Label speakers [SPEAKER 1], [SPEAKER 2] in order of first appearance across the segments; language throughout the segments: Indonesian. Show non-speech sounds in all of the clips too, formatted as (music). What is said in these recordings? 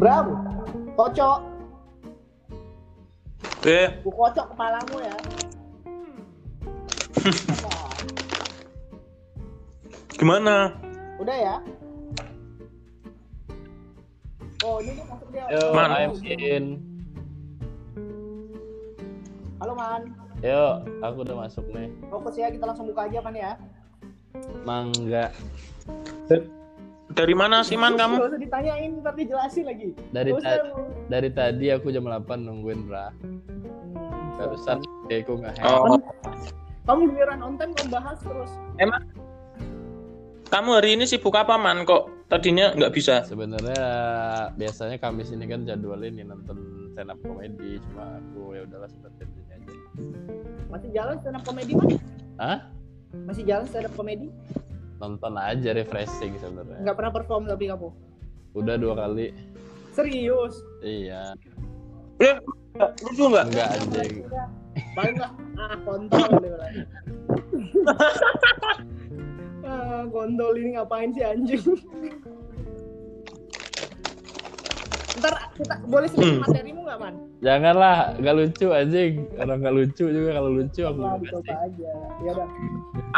[SPEAKER 1] Bram, kocok.
[SPEAKER 2] Eh,
[SPEAKER 1] Gue kocok kepalamu ya. Wah,
[SPEAKER 2] gimana?
[SPEAKER 1] Udah ya. Oh, ini dia masuk dia.
[SPEAKER 3] Yo,
[SPEAKER 2] Man.
[SPEAKER 3] I'm in.
[SPEAKER 1] Halo Man,
[SPEAKER 3] Yo, aku udah masuk nih.
[SPEAKER 1] fokus ya kita langsung buka aja Man ya.
[SPEAKER 3] Mangga
[SPEAKER 2] Dari mana sih man kamu?
[SPEAKER 1] Gak usah ditanyain, ntar dijelasin lagi.
[SPEAKER 3] Dari
[SPEAKER 1] Gak usah
[SPEAKER 3] tadi. dari tadi aku jam 8 nungguin bra.
[SPEAKER 1] Hmm.
[SPEAKER 3] Barusan aku nggak
[SPEAKER 2] Oh.
[SPEAKER 3] happy.
[SPEAKER 1] Kamu giliran on time kamu bahas terus.
[SPEAKER 2] Emang kamu hari ini sibuk apa man kok tadinya nggak bisa?
[SPEAKER 3] Sebenarnya biasanya Kamis ini kan jadwalnya ini nonton stand up comedy cuma aku ya udahlah sebentar ini aja.
[SPEAKER 1] Masih jalan stand up comedy Man?
[SPEAKER 3] Hah?
[SPEAKER 1] Masih jalan stand up comedy?
[SPEAKER 3] Nonton aja refreshing sebenarnya.
[SPEAKER 1] Gak pernah perform tapi kamu.
[SPEAKER 3] Udah dua kali.
[SPEAKER 1] Serius.
[SPEAKER 3] Iya.
[SPEAKER 2] Eh, lucu nggak?
[SPEAKER 3] Enggak anjing.
[SPEAKER 1] Paling nggak ah
[SPEAKER 3] (laughs)
[SPEAKER 1] kontol dia bilang. ah, kontol ini ngapain sih anjing? Ntar kita boleh sebut
[SPEAKER 2] Hmm.
[SPEAKER 1] materimu nggak man?
[SPEAKER 3] Janganlah, nggak lucu anjing. Orang nggak lucu juga kalau lucu aku
[SPEAKER 1] Lah,
[SPEAKER 3] mau
[SPEAKER 1] dicoba
[SPEAKER 3] kasih.
[SPEAKER 1] aja. Ya udah.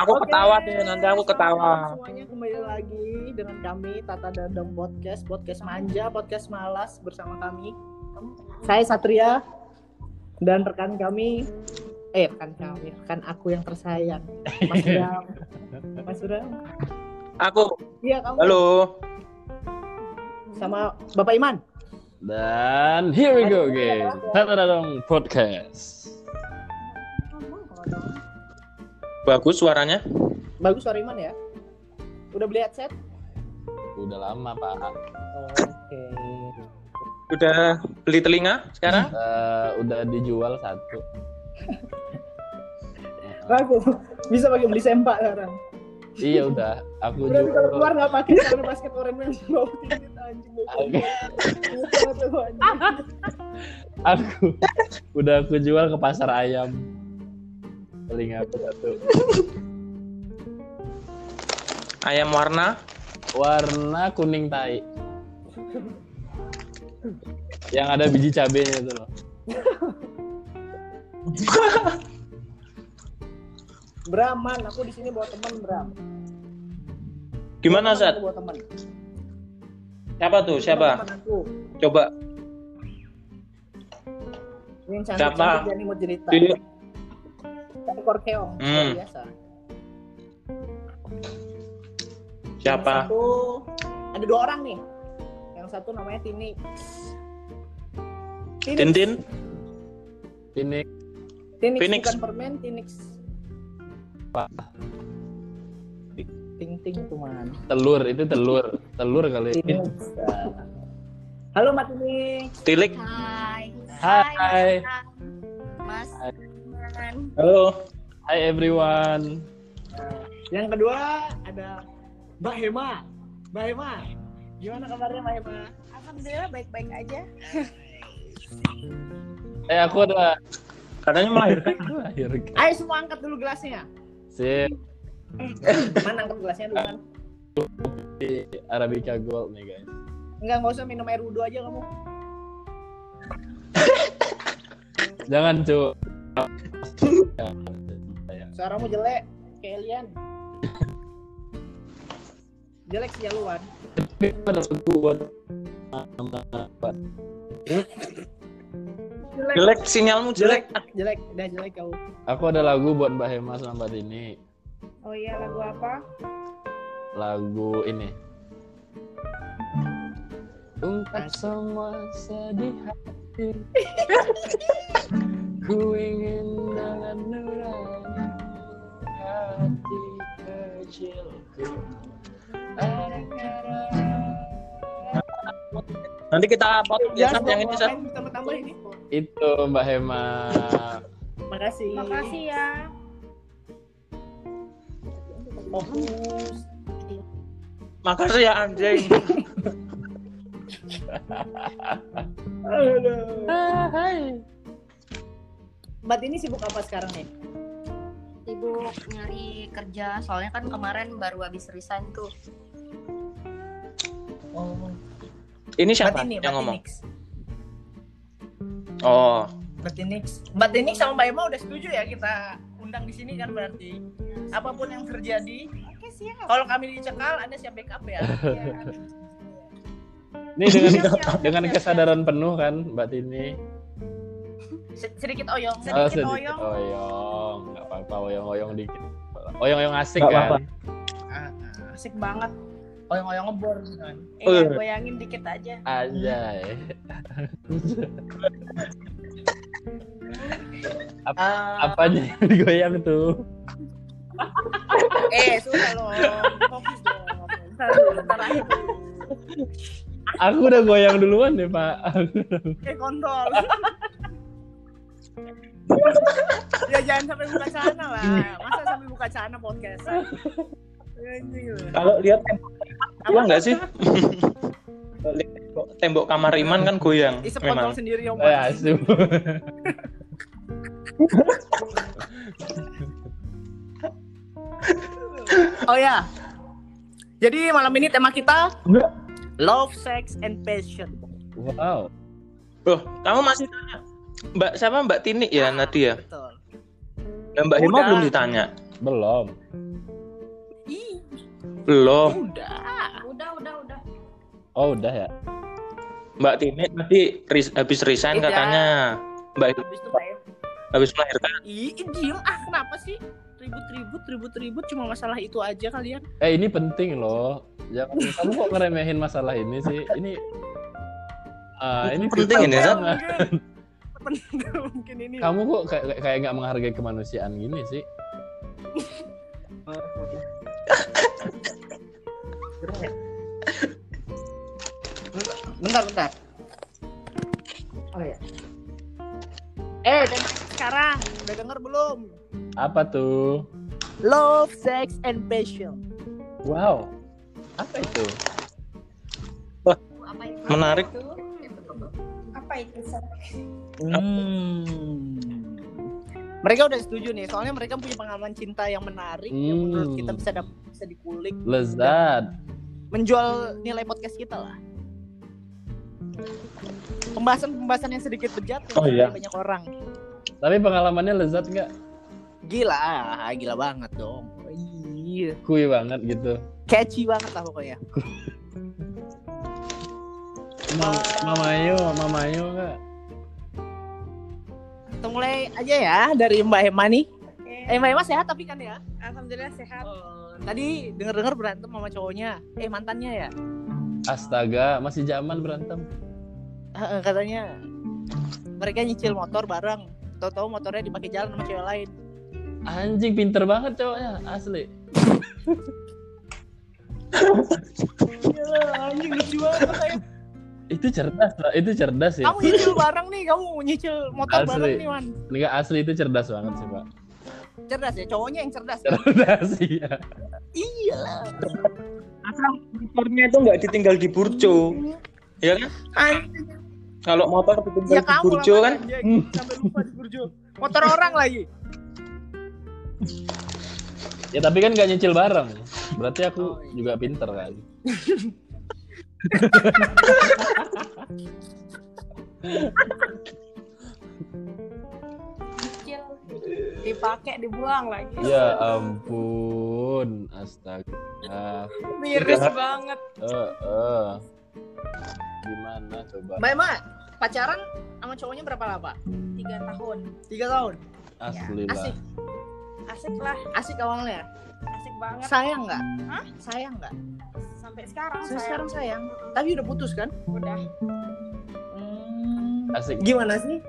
[SPEAKER 2] Aku
[SPEAKER 1] Oke,
[SPEAKER 2] ketawa deh nanti aku
[SPEAKER 1] selamat malam
[SPEAKER 2] ketawa.
[SPEAKER 1] Semuanya kembali lagi dengan kami Tata Dadang Podcast, podcast manja, podcast malas bersama kami. Saya Satria dan rekan kami eh rekan kami, rekan aku yang tersayang.
[SPEAKER 2] (laughs)
[SPEAKER 1] Mas Bram. Mas Bram.
[SPEAKER 2] Aku,
[SPEAKER 1] Iya, kamu
[SPEAKER 2] halo.
[SPEAKER 1] sama Bapak Iman.
[SPEAKER 3] Dan here we go again. Tadadadong podcast.
[SPEAKER 2] Bagus suaranya.
[SPEAKER 1] Bagus suara Iman ya. Udah beli headset?
[SPEAKER 3] Udah lama pak.
[SPEAKER 1] Oke.
[SPEAKER 2] Udah beli telinga sekarang?
[SPEAKER 3] Eh, udah dijual satu.
[SPEAKER 1] Aku bisa pakai beli sempak sekarang.
[SPEAKER 3] iya udah. Aku
[SPEAKER 1] Udah nih kalau keluar
[SPEAKER 3] jual.
[SPEAKER 1] nggak pakai celana basket oranye yang bau titit anjing bau
[SPEAKER 3] Oke.
[SPEAKER 1] titit, bau anjing.
[SPEAKER 3] (laughs) Aku udah aku jual ke pasar ayam. Telinga aku satu.
[SPEAKER 2] Ayam warna.
[SPEAKER 3] Warna kuning tai. Yang ada biji cabenya itu loh.
[SPEAKER 1] Bram, man, aku di sini bawa teman Bram.
[SPEAKER 2] Gimana
[SPEAKER 1] Teman,
[SPEAKER 2] Sat?
[SPEAKER 1] aku Bawa teman.
[SPEAKER 2] Siapa tuh? Siapa?
[SPEAKER 1] Teman aku.
[SPEAKER 2] Coba.
[SPEAKER 1] Yang cantik
[SPEAKER 2] Siapa?
[SPEAKER 1] cantik dan imut cerita.
[SPEAKER 2] Di-
[SPEAKER 1] Ekor keong.
[SPEAKER 2] Hmm.
[SPEAKER 1] luar Biasa. Yang
[SPEAKER 2] Siapa?
[SPEAKER 1] satu ada dua orang nih. Yang satu namanya Tini. Tini.
[SPEAKER 2] Tintin?
[SPEAKER 3] Ini
[SPEAKER 1] Tinix,
[SPEAKER 2] Phoenix.
[SPEAKER 1] bukan permen, Tinix.
[SPEAKER 3] Pak.
[SPEAKER 1] Ting ting tuh man.
[SPEAKER 3] telur itu telur telur kali.
[SPEAKER 1] Tinix. Halo Mat Tinix.
[SPEAKER 2] Tilik?
[SPEAKER 4] Hai.
[SPEAKER 3] Hai.
[SPEAKER 4] Mas.
[SPEAKER 3] Hai.
[SPEAKER 4] Iman.
[SPEAKER 2] Halo.
[SPEAKER 3] Hi everyone.
[SPEAKER 1] Yang kedua ada Mbak Hema. Mbak Hema, gimana kabarnya Mbak Hema?
[SPEAKER 4] Alhamdulillah baik-baik aja.
[SPEAKER 3] Eh aku udah
[SPEAKER 2] Katanya melahirkan.
[SPEAKER 3] lahir.
[SPEAKER 1] Ayo semua angkat dulu gelasnya.
[SPEAKER 3] Sip.
[SPEAKER 1] Man angkat gelasnya dulu man.
[SPEAKER 3] di Arabica Gold nih guys.
[SPEAKER 1] Enggak, enggak usah minum air wudhu aja kamu.
[SPEAKER 3] Jangan cu.
[SPEAKER 1] Suaramu jelek, kayak alien. jelek sih ya lu, Wan.
[SPEAKER 2] Jelek sinyalmu jelek.
[SPEAKER 1] Jelek, udah jelek ya, kau.
[SPEAKER 3] Aku ada lagu buat Mbak Hema sama Mbak Dini.
[SPEAKER 4] Oh iya lagu apa?
[SPEAKER 3] Lagu ini. Ungkap semua sedih hati. Ku ingin dengan nurani hati kecilku.
[SPEAKER 2] Nanti kita potong ya Sat,
[SPEAKER 1] Jangan
[SPEAKER 2] yang ini Sat.
[SPEAKER 1] tambah-tambah ini.
[SPEAKER 3] Itu Mbak Hema.
[SPEAKER 1] Makasih.
[SPEAKER 4] Makasih ya.
[SPEAKER 1] Fokus.
[SPEAKER 2] Makasih ya anjing.
[SPEAKER 1] Aduh.
[SPEAKER 3] Hai.
[SPEAKER 1] Mbak ini sibuk apa sekarang nih?
[SPEAKER 4] Sibuk nyari kerja, soalnya kan kemarin baru habis resign tuh.
[SPEAKER 1] Oh.
[SPEAKER 2] Ini siapa
[SPEAKER 1] Batini,
[SPEAKER 2] yang ngomong?
[SPEAKER 1] Batinix.
[SPEAKER 2] Oh,
[SPEAKER 1] Batinix. Batinix sama Mbak Emma udah setuju ya kita undang di sini kan berarti. Apapun yang terjadi,
[SPEAKER 4] Oke siap. Iya.
[SPEAKER 1] kalau kami dicekal, Anda siap backup ya.
[SPEAKER 3] Ini dengan
[SPEAKER 4] Siap, siap,
[SPEAKER 3] dengan
[SPEAKER 4] siap, siap.
[SPEAKER 3] kesadaran penuh kan Mbak Tini.
[SPEAKER 1] Se- Sedikit oyong.
[SPEAKER 4] Sedikit
[SPEAKER 3] Oh,
[SPEAKER 4] oyong.
[SPEAKER 3] oyong. Nggak apa-apa oyong-oyong dikit. Oyong-oyong asik
[SPEAKER 2] Nggak
[SPEAKER 3] kan.
[SPEAKER 2] apa-apa.
[SPEAKER 1] Ah, ah.
[SPEAKER 4] Asik banget.
[SPEAKER 1] Oyong-oyong ngebor gitu kan.
[SPEAKER 4] Iya,
[SPEAKER 2] Eh.
[SPEAKER 4] goyangin dikit aja. (laughs)
[SPEAKER 3] Anjay.
[SPEAKER 1] Ah,
[SPEAKER 3] Apanya yang digoyang tuh?
[SPEAKER 4] (laughs) Eh, susah loh. Fokus dong.
[SPEAKER 1] bentar, bentar aja.
[SPEAKER 3] Aku udah goyang duluan deh, Pak. (laughs)
[SPEAKER 1] Kayak kontol. ya jangan sampai buka celana lah. Masa sampai buka Iya, celana podcast? Anjing lu.
[SPEAKER 2] kalau lihat tembok,
[SPEAKER 1] Apa?
[SPEAKER 2] goyang nggak sih? Kalau lihat tembok- tembok kamar Iman kan goyang.
[SPEAKER 1] Isep kontol
[SPEAKER 2] Memang.
[SPEAKER 1] sendiri om.
[SPEAKER 3] Ya, asu.
[SPEAKER 1] Oh ya. Jadi malam ini tema kita
[SPEAKER 2] Enggak.
[SPEAKER 1] love, sex, and passion.
[SPEAKER 3] Wow.
[SPEAKER 2] Loh, kamu masih tanya. Mbak siapa Mbak Tini ya Nadia?
[SPEAKER 1] Betul.
[SPEAKER 2] Ya, Mbak Hema
[SPEAKER 1] Udah.
[SPEAKER 2] belum ditanya.
[SPEAKER 3] Belum.
[SPEAKER 1] Ih,
[SPEAKER 2] Belum.
[SPEAKER 1] udah.
[SPEAKER 4] Udah, udah, udah.
[SPEAKER 3] Oh, udah ya.
[SPEAKER 2] Mbak Tini tadi ris- habis resign
[SPEAKER 1] Iya.
[SPEAKER 2] katanya. Mbak Hema
[SPEAKER 1] Habis itu Pak Em.
[SPEAKER 2] habis melahirkan.
[SPEAKER 1] Ih, diem ah kenapa sih? Ribut-ribut, ribut-ribut cuma masalah itu aja ya. kalian.
[SPEAKER 3] Eh, ini penting loh. Jangan kamu kok ngeremehin masalah ini sih. Ini Ah, ini
[SPEAKER 2] Penting ini,
[SPEAKER 3] vital
[SPEAKER 2] Sat.
[SPEAKER 3] banget.
[SPEAKER 1] Mungkin, mungkin
[SPEAKER 3] (laughs)
[SPEAKER 1] ini.
[SPEAKER 3] Kamu kok kayak kayak- kayak nggak menghargai kemanusiaan gini sih?
[SPEAKER 1] Bentar, bentar. Oh ya. Eh, dan sekarang udah denger belum?
[SPEAKER 3] Apa tuh?
[SPEAKER 1] Love, sex, and passion.
[SPEAKER 3] Wow. Apa itu?
[SPEAKER 4] Apa itu?
[SPEAKER 2] Menarik.
[SPEAKER 4] Apa itu?
[SPEAKER 1] Hmm. Mereka udah setuju nih, soalnya mereka punya pengalaman cinta yang menarik yang
[SPEAKER 3] Hmm.
[SPEAKER 1] menurut kita bisa dap- bisa dikulik,
[SPEAKER 3] Lezat.
[SPEAKER 1] menjual nilai podcast kita lah. Pembahasan-pembahasan yang sedikit bejat
[SPEAKER 2] Oh, iya.
[SPEAKER 1] banyak orang.
[SPEAKER 3] Tapi pengalamannya lezat nggak?
[SPEAKER 1] Gila, gila banget dong. Iya.
[SPEAKER 3] Kui banget gitu.
[SPEAKER 1] Catchy banget lah pokoknya.
[SPEAKER 3] Ma- Mamayo, mamayo nggak?
[SPEAKER 1] Kita mulai aja ya dari Mbak Hema nih. Eh Mbak Hema sehat tapi kan ya? Oh,
[SPEAKER 4] Alhamdulillah sehat.
[SPEAKER 1] Tadi denger-denger berantem sama cowoknya. Eh mantannya ya?
[SPEAKER 3] Astaga, masih zaman berantem.
[SPEAKER 1] Heeh, katanya mereka nyicil motor bareng. Tahu-tahu motornya dipakai jalan sama cewek lain.
[SPEAKER 3] Anjing pinter banget cowoknya, asli.
[SPEAKER 1] Gila, Iya, anjing lucu banget. kayak,
[SPEAKER 3] Itu cerdas, Pak. itu cerdas ya.
[SPEAKER 1] Kamu nyicil bareng nih, kamu nyicil motor
[SPEAKER 3] Asli.
[SPEAKER 1] bareng nih, Man.
[SPEAKER 3] Enggak asli itu cerdas banget sih, Pak. (laughs)
[SPEAKER 1] Cerdas ya, cowoknya yang cerdas. ya?
[SPEAKER 3] Cerdas iya.
[SPEAKER 1] Iya lah.
[SPEAKER 2] Asal motornya itu nggak ditinggal di burjo. Ya kan?
[SPEAKER 1] Anjing,
[SPEAKER 2] Kalau motor
[SPEAKER 1] ya
[SPEAKER 2] ditinggal di
[SPEAKER 1] kamu
[SPEAKER 2] burjo
[SPEAKER 1] lah,
[SPEAKER 2] kan
[SPEAKER 1] Man. Dia Sampai lupa di Burjo. Motor orang lagi.
[SPEAKER 3] Ya tapi kan gak nyicil bareng. Berarti
[SPEAKER 1] Oh,
[SPEAKER 3] aku
[SPEAKER 1] iya.
[SPEAKER 3] juga pinter kan.
[SPEAKER 4] Kecil. Dipakai, dibuang lagi.
[SPEAKER 3] Ya ampun, astaga.
[SPEAKER 4] Miris banget.
[SPEAKER 3] Eh, eh. Gimana coba?
[SPEAKER 1] Mbak Emma, pacaran sama cowoknya berapa lama?
[SPEAKER 4] Tiga tahun.
[SPEAKER 1] Tiga tahun.
[SPEAKER 3] Asli lah.
[SPEAKER 1] Asik,
[SPEAKER 4] Asik lah.
[SPEAKER 1] asik awalnya.
[SPEAKER 4] Asik banget.
[SPEAKER 1] Sayang nggak?
[SPEAKER 4] Hah?
[SPEAKER 1] Sayang nggak?
[SPEAKER 4] Sampai sekarang
[SPEAKER 1] Saya
[SPEAKER 4] saya
[SPEAKER 1] sekarang Oh, sayang. Tapi udah putus kan?
[SPEAKER 4] udah
[SPEAKER 1] Hmm.
[SPEAKER 3] Asik.
[SPEAKER 1] Gimana sih?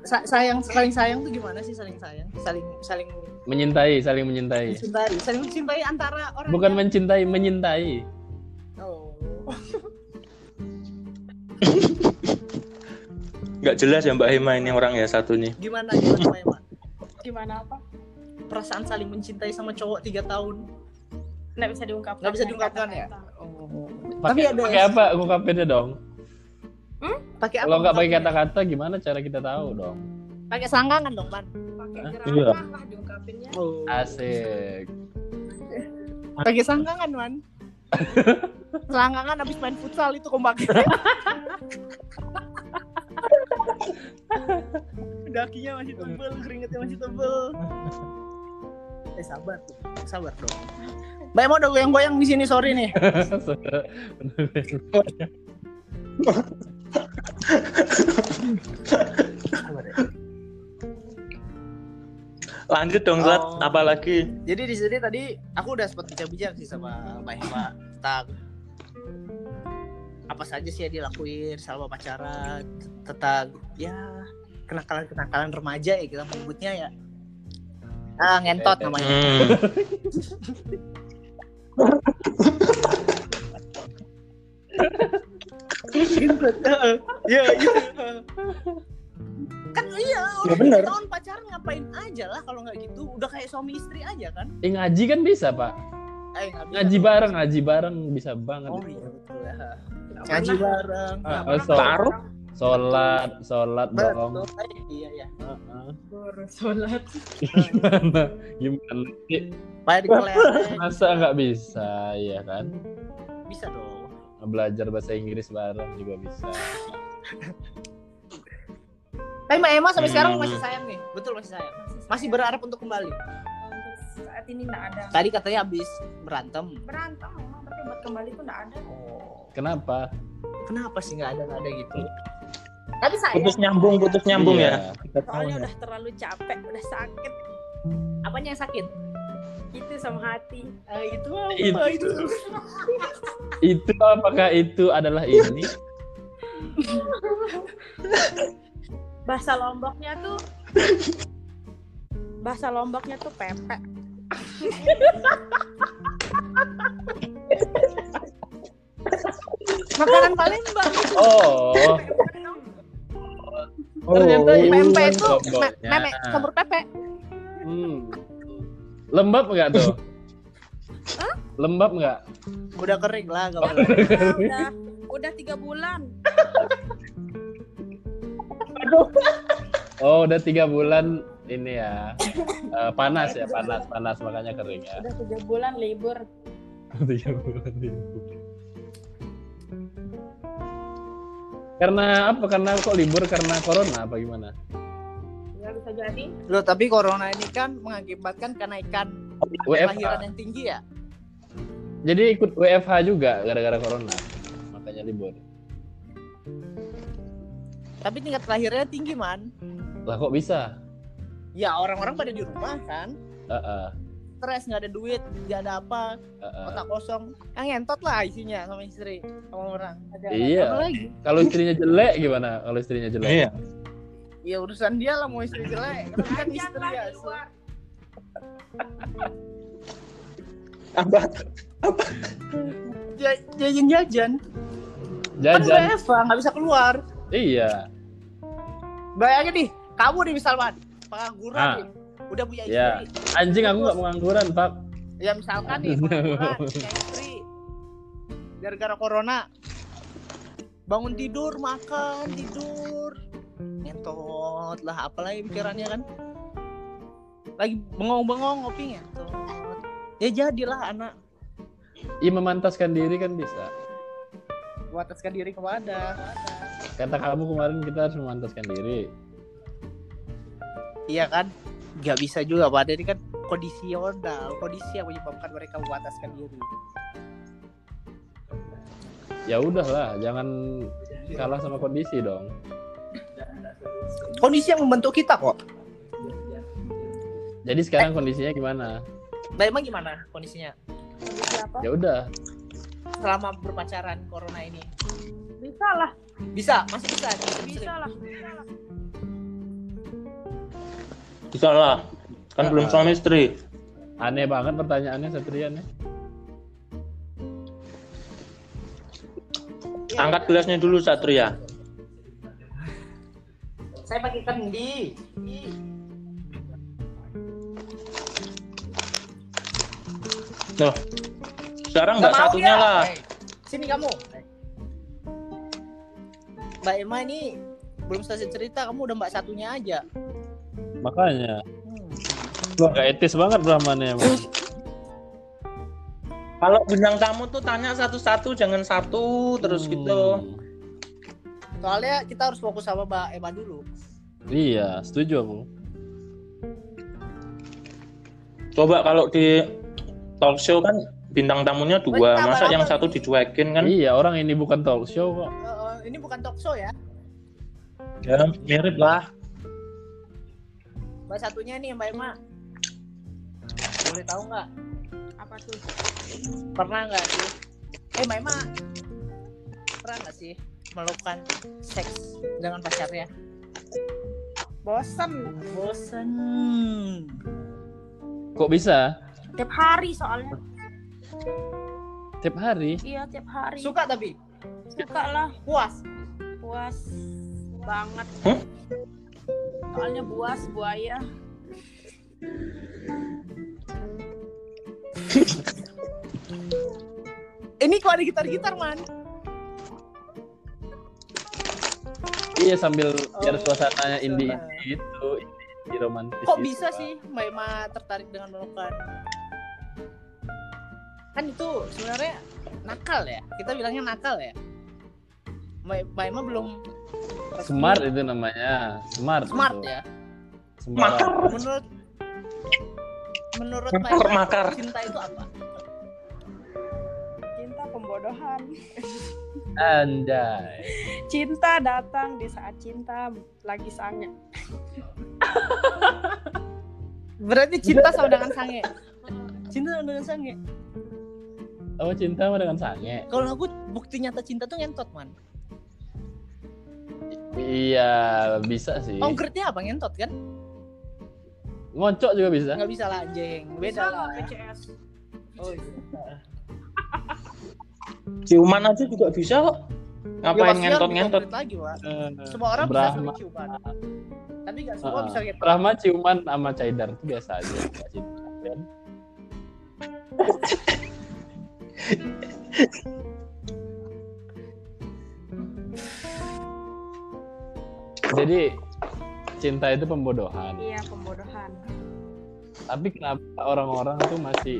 [SPEAKER 1] Sa- sayang saling sayang tuh gimana sih saling sayang? Saling saling
[SPEAKER 3] Menyintai, saling menyintai.
[SPEAKER 1] mencintai, saling mencintai antara orang.
[SPEAKER 3] Iya. Bukan
[SPEAKER 1] yang-
[SPEAKER 3] mencintai, menyintai.
[SPEAKER 1] Oh.
[SPEAKER 2] nggak jelas ya Mbak Hema ini orang ya satunya.
[SPEAKER 1] Gimana gimana Mbak Emma?
[SPEAKER 4] gimana apa?
[SPEAKER 1] Perasaan saling mencintai sama cowok tiga tahun.
[SPEAKER 4] Nggak bisa diungkapkan.
[SPEAKER 1] Nggak bisa diungkapkan ya? Oh. Tapi
[SPEAKER 3] Pakai-
[SPEAKER 1] ada
[SPEAKER 3] Pakai apa? Ungkapinnya dong.
[SPEAKER 1] pakai apa?
[SPEAKER 3] Kalau nggak pakai
[SPEAKER 1] ungkapnya?
[SPEAKER 3] kata-kata, gimana cara kita tahu dong?
[SPEAKER 1] pakai sanggangan dong, Ban.
[SPEAKER 4] Pakai
[SPEAKER 3] Hah?
[SPEAKER 4] gerakan
[SPEAKER 2] Iya.
[SPEAKER 4] lah diungkapinnya.
[SPEAKER 1] Oh.
[SPEAKER 3] (laughs) Asik.
[SPEAKER 1] (laughs) Pakai sanggangan, Man. Selangkangan habis main futsal itu (laughs) kompak. Dakinya masih tebel, keringetnya masih tebel. Eh sabar tuh, sabar dong. Mbak mau udah goyang-goyang di sini sorry nih. Sabar ya.
[SPEAKER 2] Lanjut dong, Zat.
[SPEAKER 1] Oh.
[SPEAKER 2] Apalagi?
[SPEAKER 1] Jadi di sini tadi aku udah sempat bijak-bijak sih sama Mbak Hema tentang apa saja sih yang dilakuin selama pacaran tentang ya kenakalan-kenakalan remaja ya kita menyebutnya ya. Ah, ngentot
[SPEAKER 3] Eh,
[SPEAKER 1] namanya.
[SPEAKER 2] Hmm.
[SPEAKER 1] Iya, iya. Kan iya, udah
[SPEAKER 2] bener.
[SPEAKER 1] tahun pacaran ngapain aja lah kalau nggak gitu. Udah kayak suami istri aja kan.
[SPEAKER 3] Eh, ngaji kan bisa, Pak.
[SPEAKER 1] Eh, nggak bisa.
[SPEAKER 3] Ngaji bareng, ngaji bareng bisa banget.
[SPEAKER 1] Oh iya, betul ya. Ngaji bareng.
[SPEAKER 3] Ah,
[SPEAKER 1] Nah,
[SPEAKER 3] oh, so-
[SPEAKER 2] Taruh.
[SPEAKER 3] Sholat, sholat dong.
[SPEAKER 1] betul. Eh, Iya, iya.
[SPEAKER 3] Heeh.
[SPEAKER 4] Sholat.
[SPEAKER 3] Gimana? Gimana? Eh,
[SPEAKER 1] Bayar dikelereng.
[SPEAKER 3] Masa nggak bisa, ya kan?
[SPEAKER 1] bisa dong
[SPEAKER 3] Belajar bahasa Inggris bareng juga bisa.
[SPEAKER 1] tapi Mbak Emma sampai
[SPEAKER 2] Hmm.
[SPEAKER 1] sekarang masih sayang nih betul masih sayang masih berharap untuk kembali
[SPEAKER 4] Untuk um, saat ini nggak ada.
[SPEAKER 1] tadi katanya habis berantem
[SPEAKER 4] Berantem memang tapi buat kembali tuh nggak ada.
[SPEAKER 1] oh
[SPEAKER 3] Kenapa?
[SPEAKER 1] kenapa sih nggak ada nggak ada gitu
[SPEAKER 4] Tapi
[SPEAKER 5] ya?
[SPEAKER 4] sayang.
[SPEAKER 2] Putus nyambung, putus nyambung ya.
[SPEAKER 3] Iya.
[SPEAKER 2] Tiga tahun
[SPEAKER 4] Soalnya
[SPEAKER 2] ya.
[SPEAKER 4] udah terlalu capek, udah sakit
[SPEAKER 1] apanya yang sakit
[SPEAKER 4] gitu sama hati.
[SPEAKER 1] Eh, itu apa
[SPEAKER 3] Itu.
[SPEAKER 1] itu
[SPEAKER 3] Itu apakah itu adalah ini?
[SPEAKER 4] Bahasa lomboknya tuh bahasa lomboknya tuh pepek.
[SPEAKER 1] makanan Palembang
[SPEAKER 3] Oh, ternyata
[SPEAKER 2] Oh.
[SPEAKER 1] pempek itu me-
[SPEAKER 3] lomboknya.
[SPEAKER 1] memek campur pepek
[SPEAKER 3] Hmm. Lembab nggak tuh? Lembab nggak?
[SPEAKER 1] udah kering lah kalau
[SPEAKER 3] (laughs)
[SPEAKER 4] Ya udah udah tiga bulan.
[SPEAKER 3] Oh, udah tiga bulan ini ya. Eh, panas ya, panas, panas makanya kering ya.
[SPEAKER 4] Udah tiga bulan libur.
[SPEAKER 3] tiga bulan libur. (laughs) Karena apa? Karena kok libur karena corona apa gimana?
[SPEAKER 4] Ya bisa jadi.
[SPEAKER 1] lo tapi corona ini kan mengakibatkan kenaikan
[SPEAKER 3] WFH.
[SPEAKER 1] kelahiran yang tinggi ya
[SPEAKER 3] Jadi ikut WFH juga gara-gara corona. Makanya libur.
[SPEAKER 1] tapi tingkat kelahirannya tinggi man
[SPEAKER 3] Lah kok bisa?
[SPEAKER 1] ya orang-orang pada di rumah kan
[SPEAKER 3] Heeh,
[SPEAKER 1] stres nggak ada duit nggak ada apa
[SPEAKER 3] heeh.
[SPEAKER 1] otak kosong yang ngentot lah isinya sama istri sama orang
[SPEAKER 3] Iya.
[SPEAKER 1] Apa lagi
[SPEAKER 3] Kalau istrinya jelek gimana? Kalau istrinya jelek?
[SPEAKER 2] Iya.
[SPEAKER 1] ya urusan dia lah mau istri jelek tapi kan
[SPEAKER 4] Jajan
[SPEAKER 1] istri
[SPEAKER 4] lah
[SPEAKER 1] ya
[SPEAKER 4] di luar.
[SPEAKER 2] Apa?
[SPEAKER 1] Ja- jajan jajan kan
[SPEAKER 3] Jajan.
[SPEAKER 1] WFH nggak bisa keluar
[SPEAKER 3] Iya.
[SPEAKER 1] bayangin nih kamu nih misalkan pengangguran
[SPEAKER 3] Ah.
[SPEAKER 1] nih udah punya istri
[SPEAKER 3] Iya. Anjing aku nggak pengangguran, Pak.
[SPEAKER 1] ya misalkan nih pengangguran punya istri gara-gara corona bangun tidur makan tidur ngentot lah apalagi pikirannya kan lagi bengong-bengong ngopi ngentot ya jadilah anak
[SPEAKER 3] Iya memantaskan diri kan bisa.
[SPEAKER 1] mewataskan diri kepada
[SPEAKER 3] Kata kamu kemarin kita harus memantaskan diri.
[SPEAKER 1] iya kan nggak bisa juga pada ini kan kondisional kondisi yang menyebabkan mereka mewataskan diri
[SPEAKER 3] Ya udahlah, jangan kalah sama kondisi dong.
[SPEAKER 1] kondisi yang membentuk kita kok
[SPEAKER 3] Jadi sekarang kondisinya gimana?
[SPEAKER 1] nah emang gimana kondisinya
[SPEAKER 4] Jadi Siapa?
[SPEAKER 3] Ya udah,
[SPEAKER 1] selama berpacaran corona ini
[SPEAKER 4] Bisa lah,
[SPEAKER 1] bisa masih bisa
[SPEAKER 4] bisa
[SPEAKER 1] jadi muslim.
[SPEAKER 4] lah.
[SPEAKER 2] Bisa lah. Kan belum suami istri.
[SPEAKER 3] aneh banget pertanyaannya ya. Satria nih.
[SPEAKER 1] Iya.
[SPEAKER 2] Angkat gelasnya dulu, Satria.
[SPEAKER 1] saya pakai kendi
[SPEAKER 2] Loh. Sekarang
[SPEAKER 1] Nggak
[SPEAKER 2] nggak
[SPEAKER 1] mau
[SPEAKER 2] satunya
[SPEAKER 1] ya.
[SPEAKER 2] lah.
[SPEAKER 1] Hei, sini kamu Mbak Emma ini belum selesai cerita kamu udah mbak satunya aja
[SPEAKER 3] Makanya,
[SPEAKER 1] Hmm.
[SPEAKER 3] nggak etis banget Brahman ya. Bang.
[SPEAKER 2] Kalau bintang tamu tuh tanya satu-satu, jangan satu terus gitu.
[SPEAKER 3] Hmm.
[SPEAKER 1] Soalnya kita harus fokus sama Mbak Eva dulu.
[SPEAKER 3] Iya, setuju aku.
[SPEAKER 2] Coba kalau di talk show kan bintang tamunya dua,
[SPEAKER 1] Bentar,
[SPEAKER 2] masa
[SPEAKER 1] Bang,
[SPEAKER 2] yang
[SPEAKER 1] apa
[SPEAKER 2] satu
[SPEAKER 1] ini?
[SPEAKER 2] dicuekin kan?
[SPEAKER 3] Iya, orang ini bukan talk show kok.
[SPEAKER 1] Eh, eh, ini bukan talk show ya.
[SPEAKER 2] Ya, mirip lah.
[SPEAKER 1] Mbak satunya nih Mbak Emma. Boleh tahu nggak?
[SPEAKER 4] Apa tuh?
[SPEAKER 1] Pernah nggak sih? Eh Mbak Emma, pernah nggak sih melakukan seks dengan pacarnya?
[SPEAKER 4] Bosen.
[SPEAKER 1] Bosen.
[SPEAKER 2] Hmm.
[SPEAKER 3] Kok bisa?
[SPEAKER 4] Tiap hari soalnya.
[SPEAKER 3] Tiap hari.
[SPEAKER 4] Iya tiap hari.
[SPEAKER 1] Suka tapi
[SPEAKER 4] Suka lah.
[SPEAKER 1] puas.
[SPEAKER 4] Puas banget.
[SPEAKER 2] Hah?
[SPEAKER 4] Soalnya buas buaya.
[SPEAKER 1] Ini kok ada gitar-gitar man?
[SPEAKER 3] Iya, sambil biar
[SPEAKER 1] Oh, suasana.
[SPEAKER 3] suasananya indie gitu, indie romantis.
[SPEAKER 1] Kok
[SPEAKER 3] gitu.
[SPEAKER 1] bisa sih Mbak Emma tertarik dengan melakukan? Kan itu sebenarnya nakal ya. Kita bilangnya nakal ya. Mbak Mbak Emma belum resmi.
[SPEAKER 3] Smart itu namanya. Smart.
[SPEAKER 1] smart
[SPEAKER 3] itu.
[SPEAKER 1] ya.
[SPEAKER 3] Smart.
[SPEAKER 1] Menurut menurut Mbak
[SPEAKER 2] Makar,
[SPEAKER 1] Emma,
[SPEAKER 2] makar.
[SPEAKER 1] cinta itu apa?
[SPEAKER 4] Cinta pembodohan.
[SPEAKER 3] Anjay.
[SPEAKER 4] Cinta datang di saat cinta lagi sange.
[SPEAKER 1] Berarti cinta sama dengan sange. Cinta sama dengan sange.
[SPEAKER 3] Kamu cinta sama dengan sange?
[SPEAKER 1] Kalau aku bukti nyata cinta tuh ngentot man.
[SPEAKER 3] Iya, bisa sih.
[SPEAKER 1] Ongkretnya apa ngentot kan?
[SPEAKER 3] Ngocok juga bisa.
[SPEAKER 1] Nggak bisa lah anjing. Beda
[SPEAKER 4] Bisa
[SPEAKER 1] lah.
[SPEAKER 6] Iya.
[SPEAKER 4] nggak PCS.
[SPEAKER 1] Oh, iya.
[SPEAKER 2] Ciuman aja juga bisa kok.
[SPEAKER 1] Ya,
[SPEAKER 2] Ngapain
[SPEAKER 1] pasti harus
[SPEAKER 2] ngentot-ngentot?
[SPEAKER 1] dikonkret lagi Pak.
[SPEAKER 3] Eh,
[SPEAKER 1] Semua orang bisa
[SPEAKER 3] Brahma.
[SPEAKER 1] sering ciuman. Tapi nggak semua
[SPEAKER 3] Heeh.
[SPEAKER 1] bisa gitu. ngentot.
[SPEAKER 3] Rahma ciuman sama Caidar itu biasa aja. nggak cinta, kan? Jadi cinta itu pembodohan. ya.
[SPEAKER 4] Iya pembodohan.
[SPEAKER 3] Tapi kenapa orang-orang tuh masih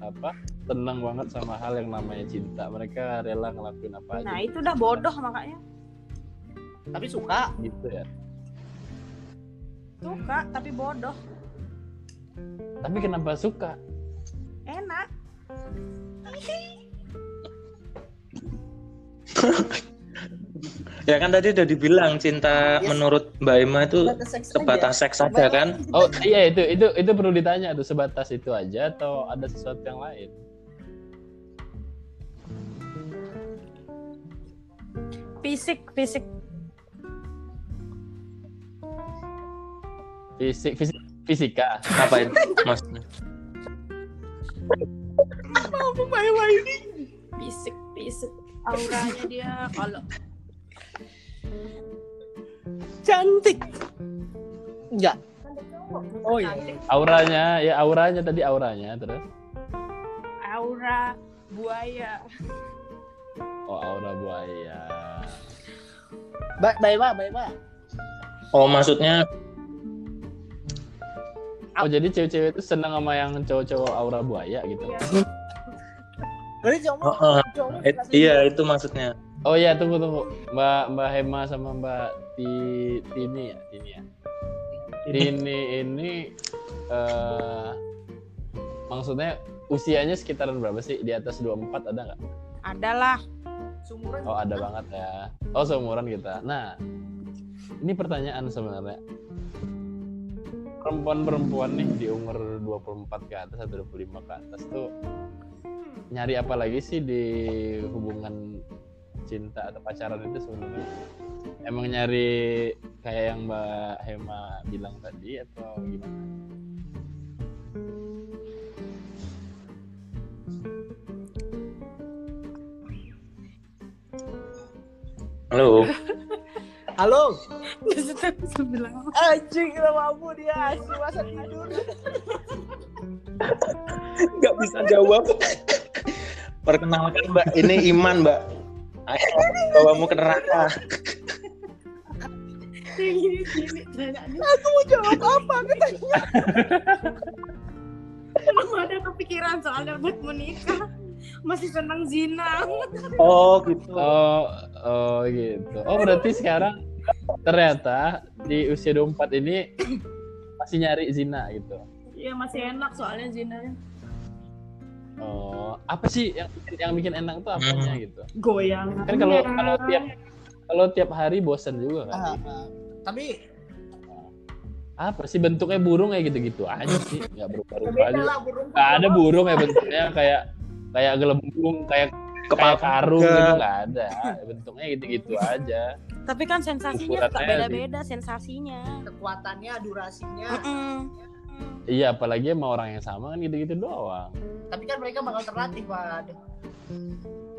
[SPEAKER 3] apa tenang banget sama hal yang namanya cinta? Mereka rela ngelakuin apa aja
[SPEAKER 4] Nah itu udah bodoh makanya.
[SPEAKER 1] Tapi suka.
[SPEAKER 3] gitu ya.
[SPEAKER 4] Suka tapi bodoh.
[SPEAKER 3] Tapi kenapa suka?
[SPEAKER 4] Enak.
[SPEAKER 2] Ya kan tadi udah dibilang cinta
[SPEAKER 1] gitu. Yes. Iya, ya.
[SPEAKER 2] menurut Mbak Emma itu
[SPEAKER 1] Sebatas seks aja.
[SPEAKER 2] sebatas seks saja
[SPEAKER 1] Mbak-
[SPEAKER 2] kan?
[SPEAKER 3] Oh iya itu itu itu perlu ditanya tuh sebatas itu aja atau ada sesuatu yang lain?
[SPEAKER 4] Fisik fisik
[SPEAKER 3] Fisik fisik fisika.
[SPEAKER 2] Apa itu maksudnya?
[SPEAKER 4] fisik fisik auranya dia kalau
[SPEAKER 1] Cantik. Enggak. Oh iya.
[SPEAKER 4] cantik
[SPEAKER 3] Auranya ya auranya tadi auranya terus.
[SPEAKER 4] aura buaya
[SPEAKER 3] Oh aura buaya.
[SPEAKER 1] Ba- Mbak Eva, Mbak Eva.
[SPEAKER 2] Oh maksudnya
[SPEAKER 3] Oh jadi cewek-cewek itu seneng sama yang cowok-cowok aura buaya gitu.
[SPEAKER 4] Iya.
[SPEAKER 1] Berarti cowok
[SPEAKER 2] oh, oh,
[SPEAKER 1] cowok
[SPEAKER 2] it-
[SPEAKER 1] suka sih.
[SPEAKER 2] iya itu maksudnya.
[SPEAKER 3] Oh iya tunggu tunggu Mbak Mbak Hema sama Mbak Ti, Tini ya Tini ya. Tini ini eh maksudnya usianya sekitaran berapa sih? Di atas 24 ada nggak?
[SPEAKER 4] adalah
[SPEAKER 1] Sumuran.
[SPEAKER 3] Oh ada banget ya. Oh seumuran kita. Nah, ini pertanyaan sebenarnya. Perempuan-perempuan nih di umur 24 ke atas atau 25 ke atas tuh nyari apa lagi sih di hubungan cinta atau pacaran itu sebenarnya? Emang nyari kayak yang Mbak Hema bilang tadi atau gimana?
[SPEAKER 2] Halo.
[SPEAKER 1] Halo.
[SPEAKER 6] (laughs)
[SPEAKER 4] bilang
[SPEAKER 1] Anjing kenapa aku dia asli masa tidur.
[SPEAKER 2] Nggak bisa jawab. Perkenalkan Mbak, ini Iman Mbak. Ayo bawamu ke neraka.
[SPEAKER 4] gini gini tanya
[SPEAKER 1] Aku mau jawab apa? Kita
[SPEAKER 4] belum ada kepikiran soalnya buat menikah masih senang zina
[SPEAKER 2] Oh gitu.
[SPEAKER 3] Oh, oh gitu. Oh berarti sekarang ternyata di usia 24 ini masih nyari zina gitu.
[SPEAKER 4] Iya masih enak soalnya zinanya
[SPEAKER 3] Oh, apa sih yang yang bikin enak tuh apanya gitu?
[SPEAKER 4] goyang
[SPEAKER 3] Kan kalau
[SPEAKER 6] Iya.
[SPEAKER 3] kalau tiap kalau tiap hari bosan juga kan.
[SPEAKER 1] Ah, ah. tapi
[SPEAKER 3] Apa sih bentuknya burung kayak gitu-gitu aja sih, nggak berubah-ubah
[SPEAKER 1] beda
[SPEAKER 3] aja.
[SPEAKER 1] lah burung
[SPEAKER 3] Nggak ada burung ya bentuknya kayak kayak gelembung, kayak kayak karung gitu nggak ada. Bentuknya gitu-gitu aja.
[SPEAKER 6] Tapi kan sensasinya suka
[SPEAKER 3] Ukurannya
[SPEAKER 6] beda-beda sensasinya.
[SPEAKER 1] kekuatannya durasinya
[SPEAKER 6] Mm-mm.
[SPEAKER 3] Iya, apalagi sama orang yang sama kan gitu-gitu doang.
[SPEAKER 1] tapi kan mereka bakal terlatih pak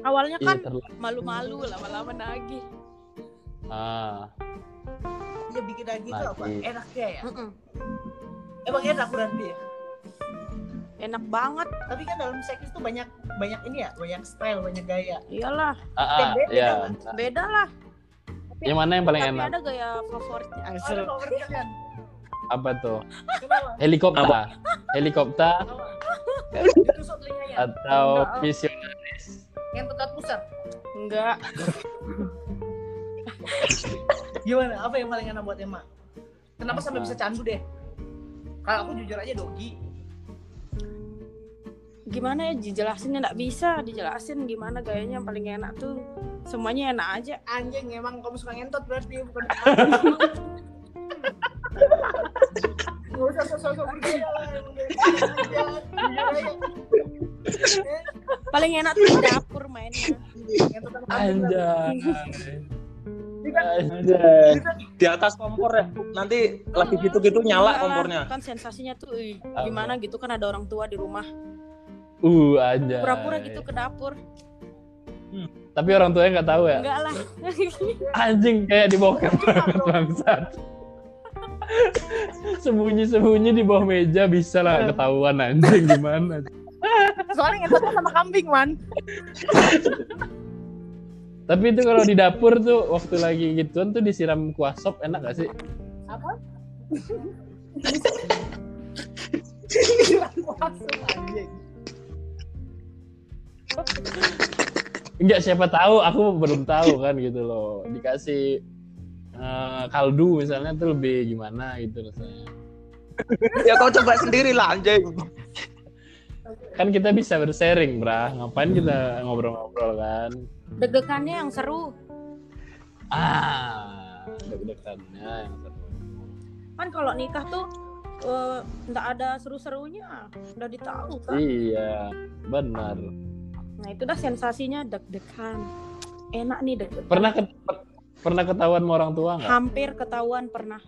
[SPEAKER 6] Awalnya
[SPEAKER 3] Iya,
[SPEAKER 6] kan
[SPEAKER 3] terlalu.
[SPEAKER 6] malu-malu lama-lama nagih.
[SPEAKER 3] Ah,
[SPEAKER 1] ya bikin lagi itu apa
[SPEAKER 3] Lagi.
[SPEAKER 1] enaknya ya
[SPEAKER 6] Mm-mm.
[SPEAKER 1] emang enak berarti ya
[SPEAKER 6] Enak banget.
[SPEAKER 1] tapi kan dalam seks itu banyak banyak ini ya banyak style banyak gaya
[SPEAKER 6] Iyalah,
[SPEAKER 3] ah, ah,
[SPEAKER 1] Beda-beda
[SPEAKER 3] iya.
[SPEAKER 6] beda lah.
[SPEAKER 3] Yang mana yang paling
[SPEAKER 6] Tapi
[SPEAKER 3] enak?
[SPEAKER 6] ada gaya favoritnya.
[SPEAKER 1] Oh, ada favoritnya (laughs) kan
[SPEAKER 3] Apa tuh?
[SPEAKER 1] kenapa
[SPEAKER 3] Helikopter.
[SPEAKER 2] Apa?
[SPEAKER 3] Helikopter
[SPEAKER 1] Kenapa? ditusuk telinganya
[SPEAKER 3] atau
[SPEAKER 4] Enggak.
[SPEAKER 3] misionaris?
[SPEAKER 1] yang tekat pusat
[SPEAKER 4] enggak
[SPEAKER 1] gimana apa yang paling enak buat emak kenapa sampai
[SPEAKER 3] Apa?
[SPEAKER 1] bisa candu deh kalau aku jujur aja dogi
[SPEAKER 6] Gimana ya dijelasinnya nggak bisa dijelasin gimana gayanya yang paling enak tuh. Semuanya enak aja.
[SPEAKER 1] anjing emang kamu suka ngentot berarti bukan nggak usah sosok-sosok bergaya (laughs) lah emang dari kecil aja. Jujur aja. Eh,
[SPEAKER 6] Paling enak tuh di dapur mainnya.
[SPEAKER 1] ngentotan kambing lah.
[SPEAKER 3] Anjay.
[SPEAKER 1] Ini kan-
[SPEAKER 3] Anjay.
[SPEAKER 1] ini kan
[SPEAKER 2] Di atas kompor ya. Nanti lagi gitu-gitu nyala
[SPEAKER 6] Iyalah,
[SPEAKER 2] kompornya.
[SPEAKER 6] Kan sensasinya tuh ih,
[SPEAKER 3] Apa?
[SPEAKER 6] gimana gitu kan ada orang tua di rumah.
[SPEAKER 3] Uh, anjay.
[SPEAKER 6] Pura-pura
[SPEAKER 3] ya.
[SPEAKER 6] gitu ke dapur.
[SPEAKER 3] Tapi orang tuanya nggak tahu ya.
[SPEAKER 6] Enggak lah.
[SPEAKER 3] Anjing kayak di bokep
[SPEAKER 6] (laughs)
[SPEAKER 1] Apa dong?
[SPEAKER 3] bangsat. Sembunyi-sembunyi di bawah meja bisa
[SPEAKER 6] Iya.
[SPEAKER 3] lah ketahuan anjing gimana.
[SPEAKER 4] soalnya ngentotnya sama kambing man
[SPEAKER 3] Tapi itu kalau di dapur tuh waktu lagi gituan tuh disiram kuah sop enak gak sih?
[SPEAKER 1] masuk, anjing.
[SPEAKER 3] Enggak siapa tahu, aku belum tahu kan gitu loh. Dikasih eh, kaldu misalnya tuh lebih gimana gitu rasanya.
[SPEAKER 2] Ya kau coba sendiri lah anjing.
[SPEAKER 3] Kan kita bisa bersharing, Bra. Ngapain kita ngobrol-ngobrol kan?
[SPEAKER 6] Deg-degannya yang seru.
[SPEAKER 3] Ah, deg-degannya yang seru.
[SPEAKER 6] Kan kalau nikah tuh eh, nggak ada seru-serunya. Udah ditahu kan.
[SPEAKER 3] Iya, benar.
[SPEAKER 6] Nah, itu dah sensasinya deg-degan. Enak nih deg-degan.
[SPEAKER 3] Pernah ke pernah ketahuan sama orang tua nggak?
[SPEAKER 6] Hampir ketahuan pernah.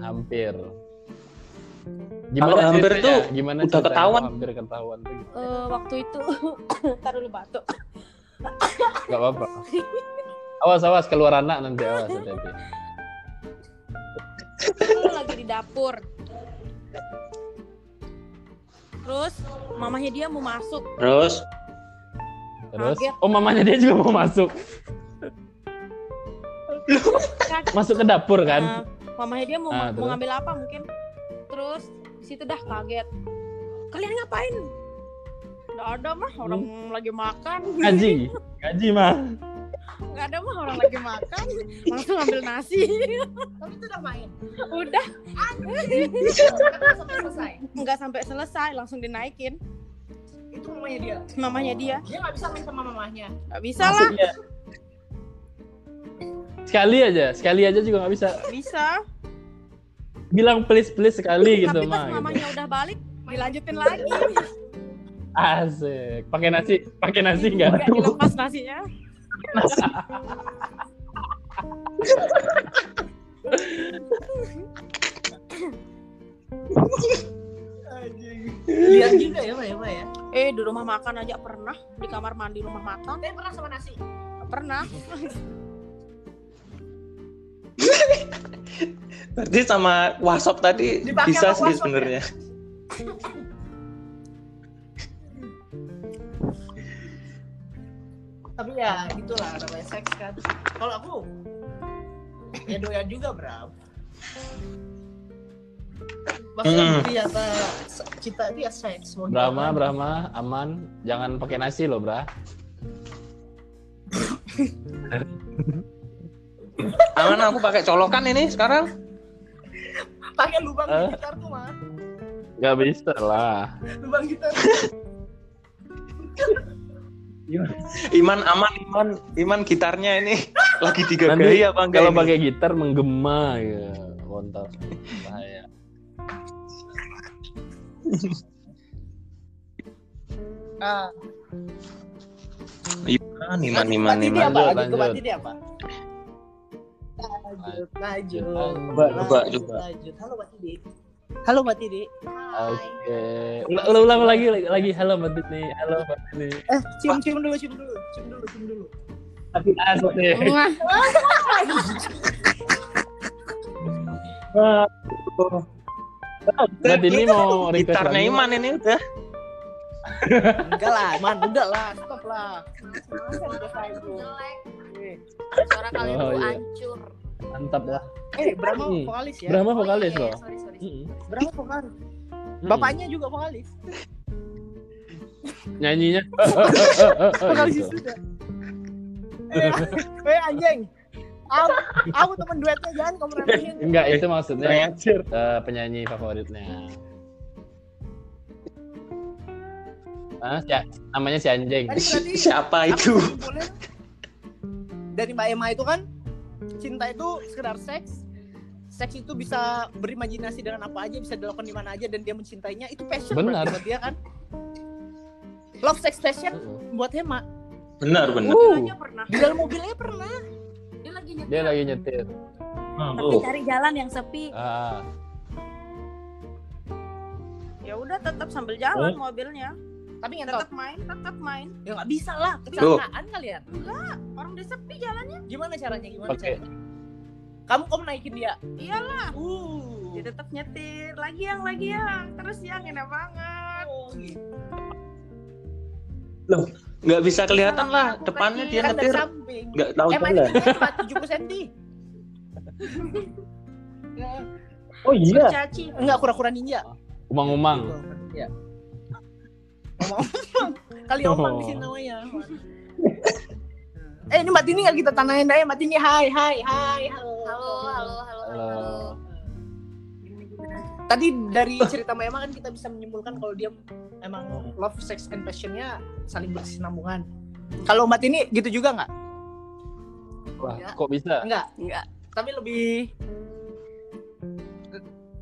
[SPEAKER 3] Hampir.
[SPEAKER 2] Kalau hampir
[SPEAKER 3] ceritanya?
[SPEAKER 2] tuh
[SPEAKER 3] gimana
[SPEAKER 2] udah
[SPEAKER 3] ceritanya
[SPEAKER 2] ketahuan.
[SPEAKER 3] kalau Hampir ketahuan tuh gitu.
[SPEAKER 6] Eh, waktu itu (coughs) taruh dulu batuk.
[SPEAKER 3] Gak apa-apa. Awas awas keluar anak nanti awas hati-hati.
[SPEAKER 6] Aku lagi di dapur. Terus mamahnya dia mau masuk.
[SPEAKER 2] Terus
[SPEAKER 3] Terus,
[SPEAKER 6] Kaget.
[SPEAKER 3] oh mamanya dia juga mau masuk,
[SPEAKER 6] Kaget.
[SPEAKER 3] masuk ke dapur kan?
[SPEAKER 6] Nah, mamahnya dia mau,
[SPEAKER 3] Ah,
[SPEAKER 6] mau
[SPEAKER 3] terus?
[SPEAKER 6] ngambil apa mungkin. Terus di situ dah kaget. Kalian ngapain? Nggak ada mah orang lagi makan.
[SPEAKER 3] Gaji, gaji mah.
[SPEAKER 6] Nggak ada mah orang lagi makan. Langsung ngambil nasi. (laughs)
[SPEAKER 1] tapi itu udah main
[SPEAKER 6] Udah
[SPEAKER 1] Kenapa sampai selesai
[SPEAKER 6] nggak sampai selesai langsung dinaikin.
[SPEAKER 1] itu mamanya dia
[SPEAKER 6] Mamahnya
[SPEAKER 3] Oh.
[SPEAKER 6] dia
[SPEAKER 1] dia nggak bisa main sama mamahnya
[SPEAKER 6] nggak bisa lah.
[SPEAKER 3] Iya. Sekali aja, sekali aja juga nggak bisa.
[SPEAKER 6] Nggak Bisa.
[SPEAKER 3] Bilang please please sekali gitu
[SPEAKER 6] Tapi pas
[SPEAKER 3] mah. Gitu.
[SPEAKER 6] mamanya udah balik dilanjutin lagi.
[SPEAKER 3] Asik. Pakai nasi, pakai nasi nggak?
[SPEAKER 6] Nggak dilepas nasinya.
[SPEAKER 1] lihat juga ya mbak ya mbak ya
[SPEAKER 6] Eh di rumah makan aja pernah di kamar mandi rumah makan
[SPEAKER 1] tapi pernah sama nasi
[SPEAKER 6] pernah.
[SPEAKER 2] berarti sama WhatsApp tadi
[SPEAKER 1] Dipakai sama
[SPEAKER 2] bisa
[SPEAKER 1] ya?
[SPEAKER 2] sih
[SPEAKER 1] WhatsApp
[SPEAKER 2] sebenarnya.
[SPEAKER 1] tapi ya gitulah namanya seks kan kalau aku ya doyan juga bro Bahasa
[SPEAKER 2] Mm.
[SPEAKER 1] Inggris ya, Ta. kita dia science mau
[SPEAKER 3] Brahma,
[SPEAKER 1] gimana?
[SPEAKER 3] Brahma, aman. Jangan pakai nasi loh, Bra.
[SPEAKER 2] Aman aku pakai colokan ini sekarang.
[SPEAKER 1] Pakai lubang
[SPEAKER 3] Eh.
[SPEAKER 1] gitarku mah.
[SPEAKER 3] Gak bisa lah.
[SPEAKER 1] Lubang gitar.
[SPEAKER 2] Iman aman Iman Iman gitarnya ini lagi tiga
[SPEAKER 3] Nanti
[SPEAKER 2] gaya apa enggak
[SPEAKER 3] Kalau
[SPEAKER 2] ini?
[SPEAKER 3] pakai gitar menggema ya, kontol. Bahaya.
[SPEAKER 1] Ah,
[SPEAKER 2] Iman Iman Iman
[SPEAKER 1] Mati dia
[SPEAKER 2] Iman.
[SPEAKER 1] apa? Lanjut,
[SPEAKER 3] Lanjut, lanjut.
[SPEAKER 1] mati dia apa? Lanjut, lanjut.
[SPEAKER 2] Coba, coba,
[SPEAKER 1] Lanjut,
[SPEAKER 2] coba.
[SPEAKER 1] Lanjut. Halo Mbak Tidi. Halo Mbak Tidi.
[SPEAKER 3] Oke. Ul- Ulang ulang lagi lagi- lagi halo Mbak Tini. Halo Mbak Tini.
[SPEAKER 1] Eh, cium cium dulu, cium dulu, cium dulu, cium dulu.
[SPEAKER 3] Tapi asli deh.
[SPEAKER 6] Muah.
[SPEAKER 3] Mbak Tini mau request
[SPEAKER 2] Gitarnya
[SPEAKER 3] lagi?
[SPEAKER 2] Iman ini udah.
[SPEAKER 1] Enggak lah, man, udah lah, stop lah. Udah time, bro.
[SPEAKER 6] Jelek.
[SPEAKER 1] Eh,
[SPEAKER 6] Suara kalian
[SPEAKER 3] Oh,
[SPEAKER 6] tuh
[SPEAKER 3] iya.
[SPEAKER 6] hancur.
[SPEAKER 3] Mantap lah.
[SPEAKER 1] Eh, Brahma
[SPEAKER 3] Hmm.
[SPEAKER 1] vokalis ya.
[SPEAKER 5] Oh,
[SPEAKER 3] Brahma Hmm. vokalis
[SPEAKER 6] iya,
[SPEAKER 3] loh.
[SPEAKER 6] iya, Sorry, sorry.
[SPEAKER 3] Mm-mm.
[SPEAKER 1] Brahma vokalis.
[SPEAKER 3] Mm-mm.
[SPEAKER 1] Bapaknya juga vokalis.
[SPEAKER 3] nyanyinya.
[SPEAKER 1] Vokalis
[SPEAKER 3] Gitu.
[SPEAKER 1] juga. Eh, eh anjing. Aku, aku temen duetnya jangan kamu remehin.
[SPEAKER 3] Enggak, itu maksudnya
[SPEAKER 2] Ngajir.
[SPEAKER 3] eh, penyanyi favoritnya. Ah, si, namanya si anjing.
[SPEAKER 1] Kan berarti
[SPEAKER 2] (laughs) Siapa
[SPEAKER 1] aku
[SPEAKER 2] itu?
[SPEAKER 1] kesimpulan dari Mbak Emma itu kan cinta itu sekedar seks. Seks itu bisa berimajinasi dengan apa aja, bisa dilakukan di mana aja dan dia mencintainya itu passion berarti
[SPEAKER 3] Benar.
[SPEAKER 1] buat dia kan. Love sex passion buat Emma.
[SPEAKER 2] Benar benar.
[SPEAKER 3] Uh,
[SPEAKER 6] Dia pernah.
[SPEAKER 1] Di dalam mobilnya pernah.
[SPEAKER 6] Dia lagi nyetir.
[SPEAKER 3] dia lagi nyetir.
[SPEAKER 6] Tapi cari jalan yang sepi.
[SPEAKER 3] Ah,
[SPEAKER 6] Ya udah tetap sambil jalan
[SPEAKER 3] Oh.
[SPEAKER 6] mobilnya.
[SPEAKER 1] Tapi ngentot.
[SPEAKER 6] Tetap main, tetap main.
[SPEAKER 1] Ya nggak bisa lah. ya.
[SPEAKER 2] Loh.
[SPEAKER 1] Kecelakaan kalian.
[SPEAKER 6] Orang dia sepi jalan.
[SPEAKER 1] Gimana caranya? Gimana
[SPEAKER 3] Pakai.
[SPEAKER 1] caranya? Kamu kamu naikin dia.
[SPEAKER 6] Iyalah.
[SPEAKER 1] Uh.
[SPEAKER 6] Dia tetap nyetir. Lagi yang, lagi yang. Terus yang enak banget.
[SPEAKER 2] Nggak bisa kelihatan lah depannya dia
[SPEAKER 1] Kan dari
[SPEAKER 2] nyetir.
[SPEAKER 1] samping.
[SPEAKER 2] Nggak tahu
[SPEAKER 1] Emma itu
[SPEAKER 2] jalan.
[SPEAKER 1] cuma 70 cm.
[SPEAKER 6] (laughs)
[SPEAKER 1] Ya,
[SPEAKER 2] Oh iya.
[SPEAKER 6] Caci.
[SPEAKER 1] Enggak kura-kura ninja.
[SPEAKER 3] umang-umang.
[SPEAKER 1] Iya. Omong-omong. Kali omong di sini namanya. Eh ini Mbak Tini nggak kita tanain aja Mbak Tini hai hai hai halo.
[SPEAKER 6] Halo, halo, halo, halo.
[SPEAKER 3] Halo.
[SPEAKER 1] Tadi dari cerita Mbak Emma kan kita bisa menyimpulkan kalau dia emang love, sex, and passionnya saling berkesinambungan. Kalau Mbak Tini gitu juga nggak?
[SPEAKER 3] Wah,
[SPEAKER 1] Enggak.
[SPEAKER 3] kok bisa? (laughs)
[SPEAKER 1] Enggak.
[SPEAKER 6] Enggak.
[SPEAKER 1] Tapi lebih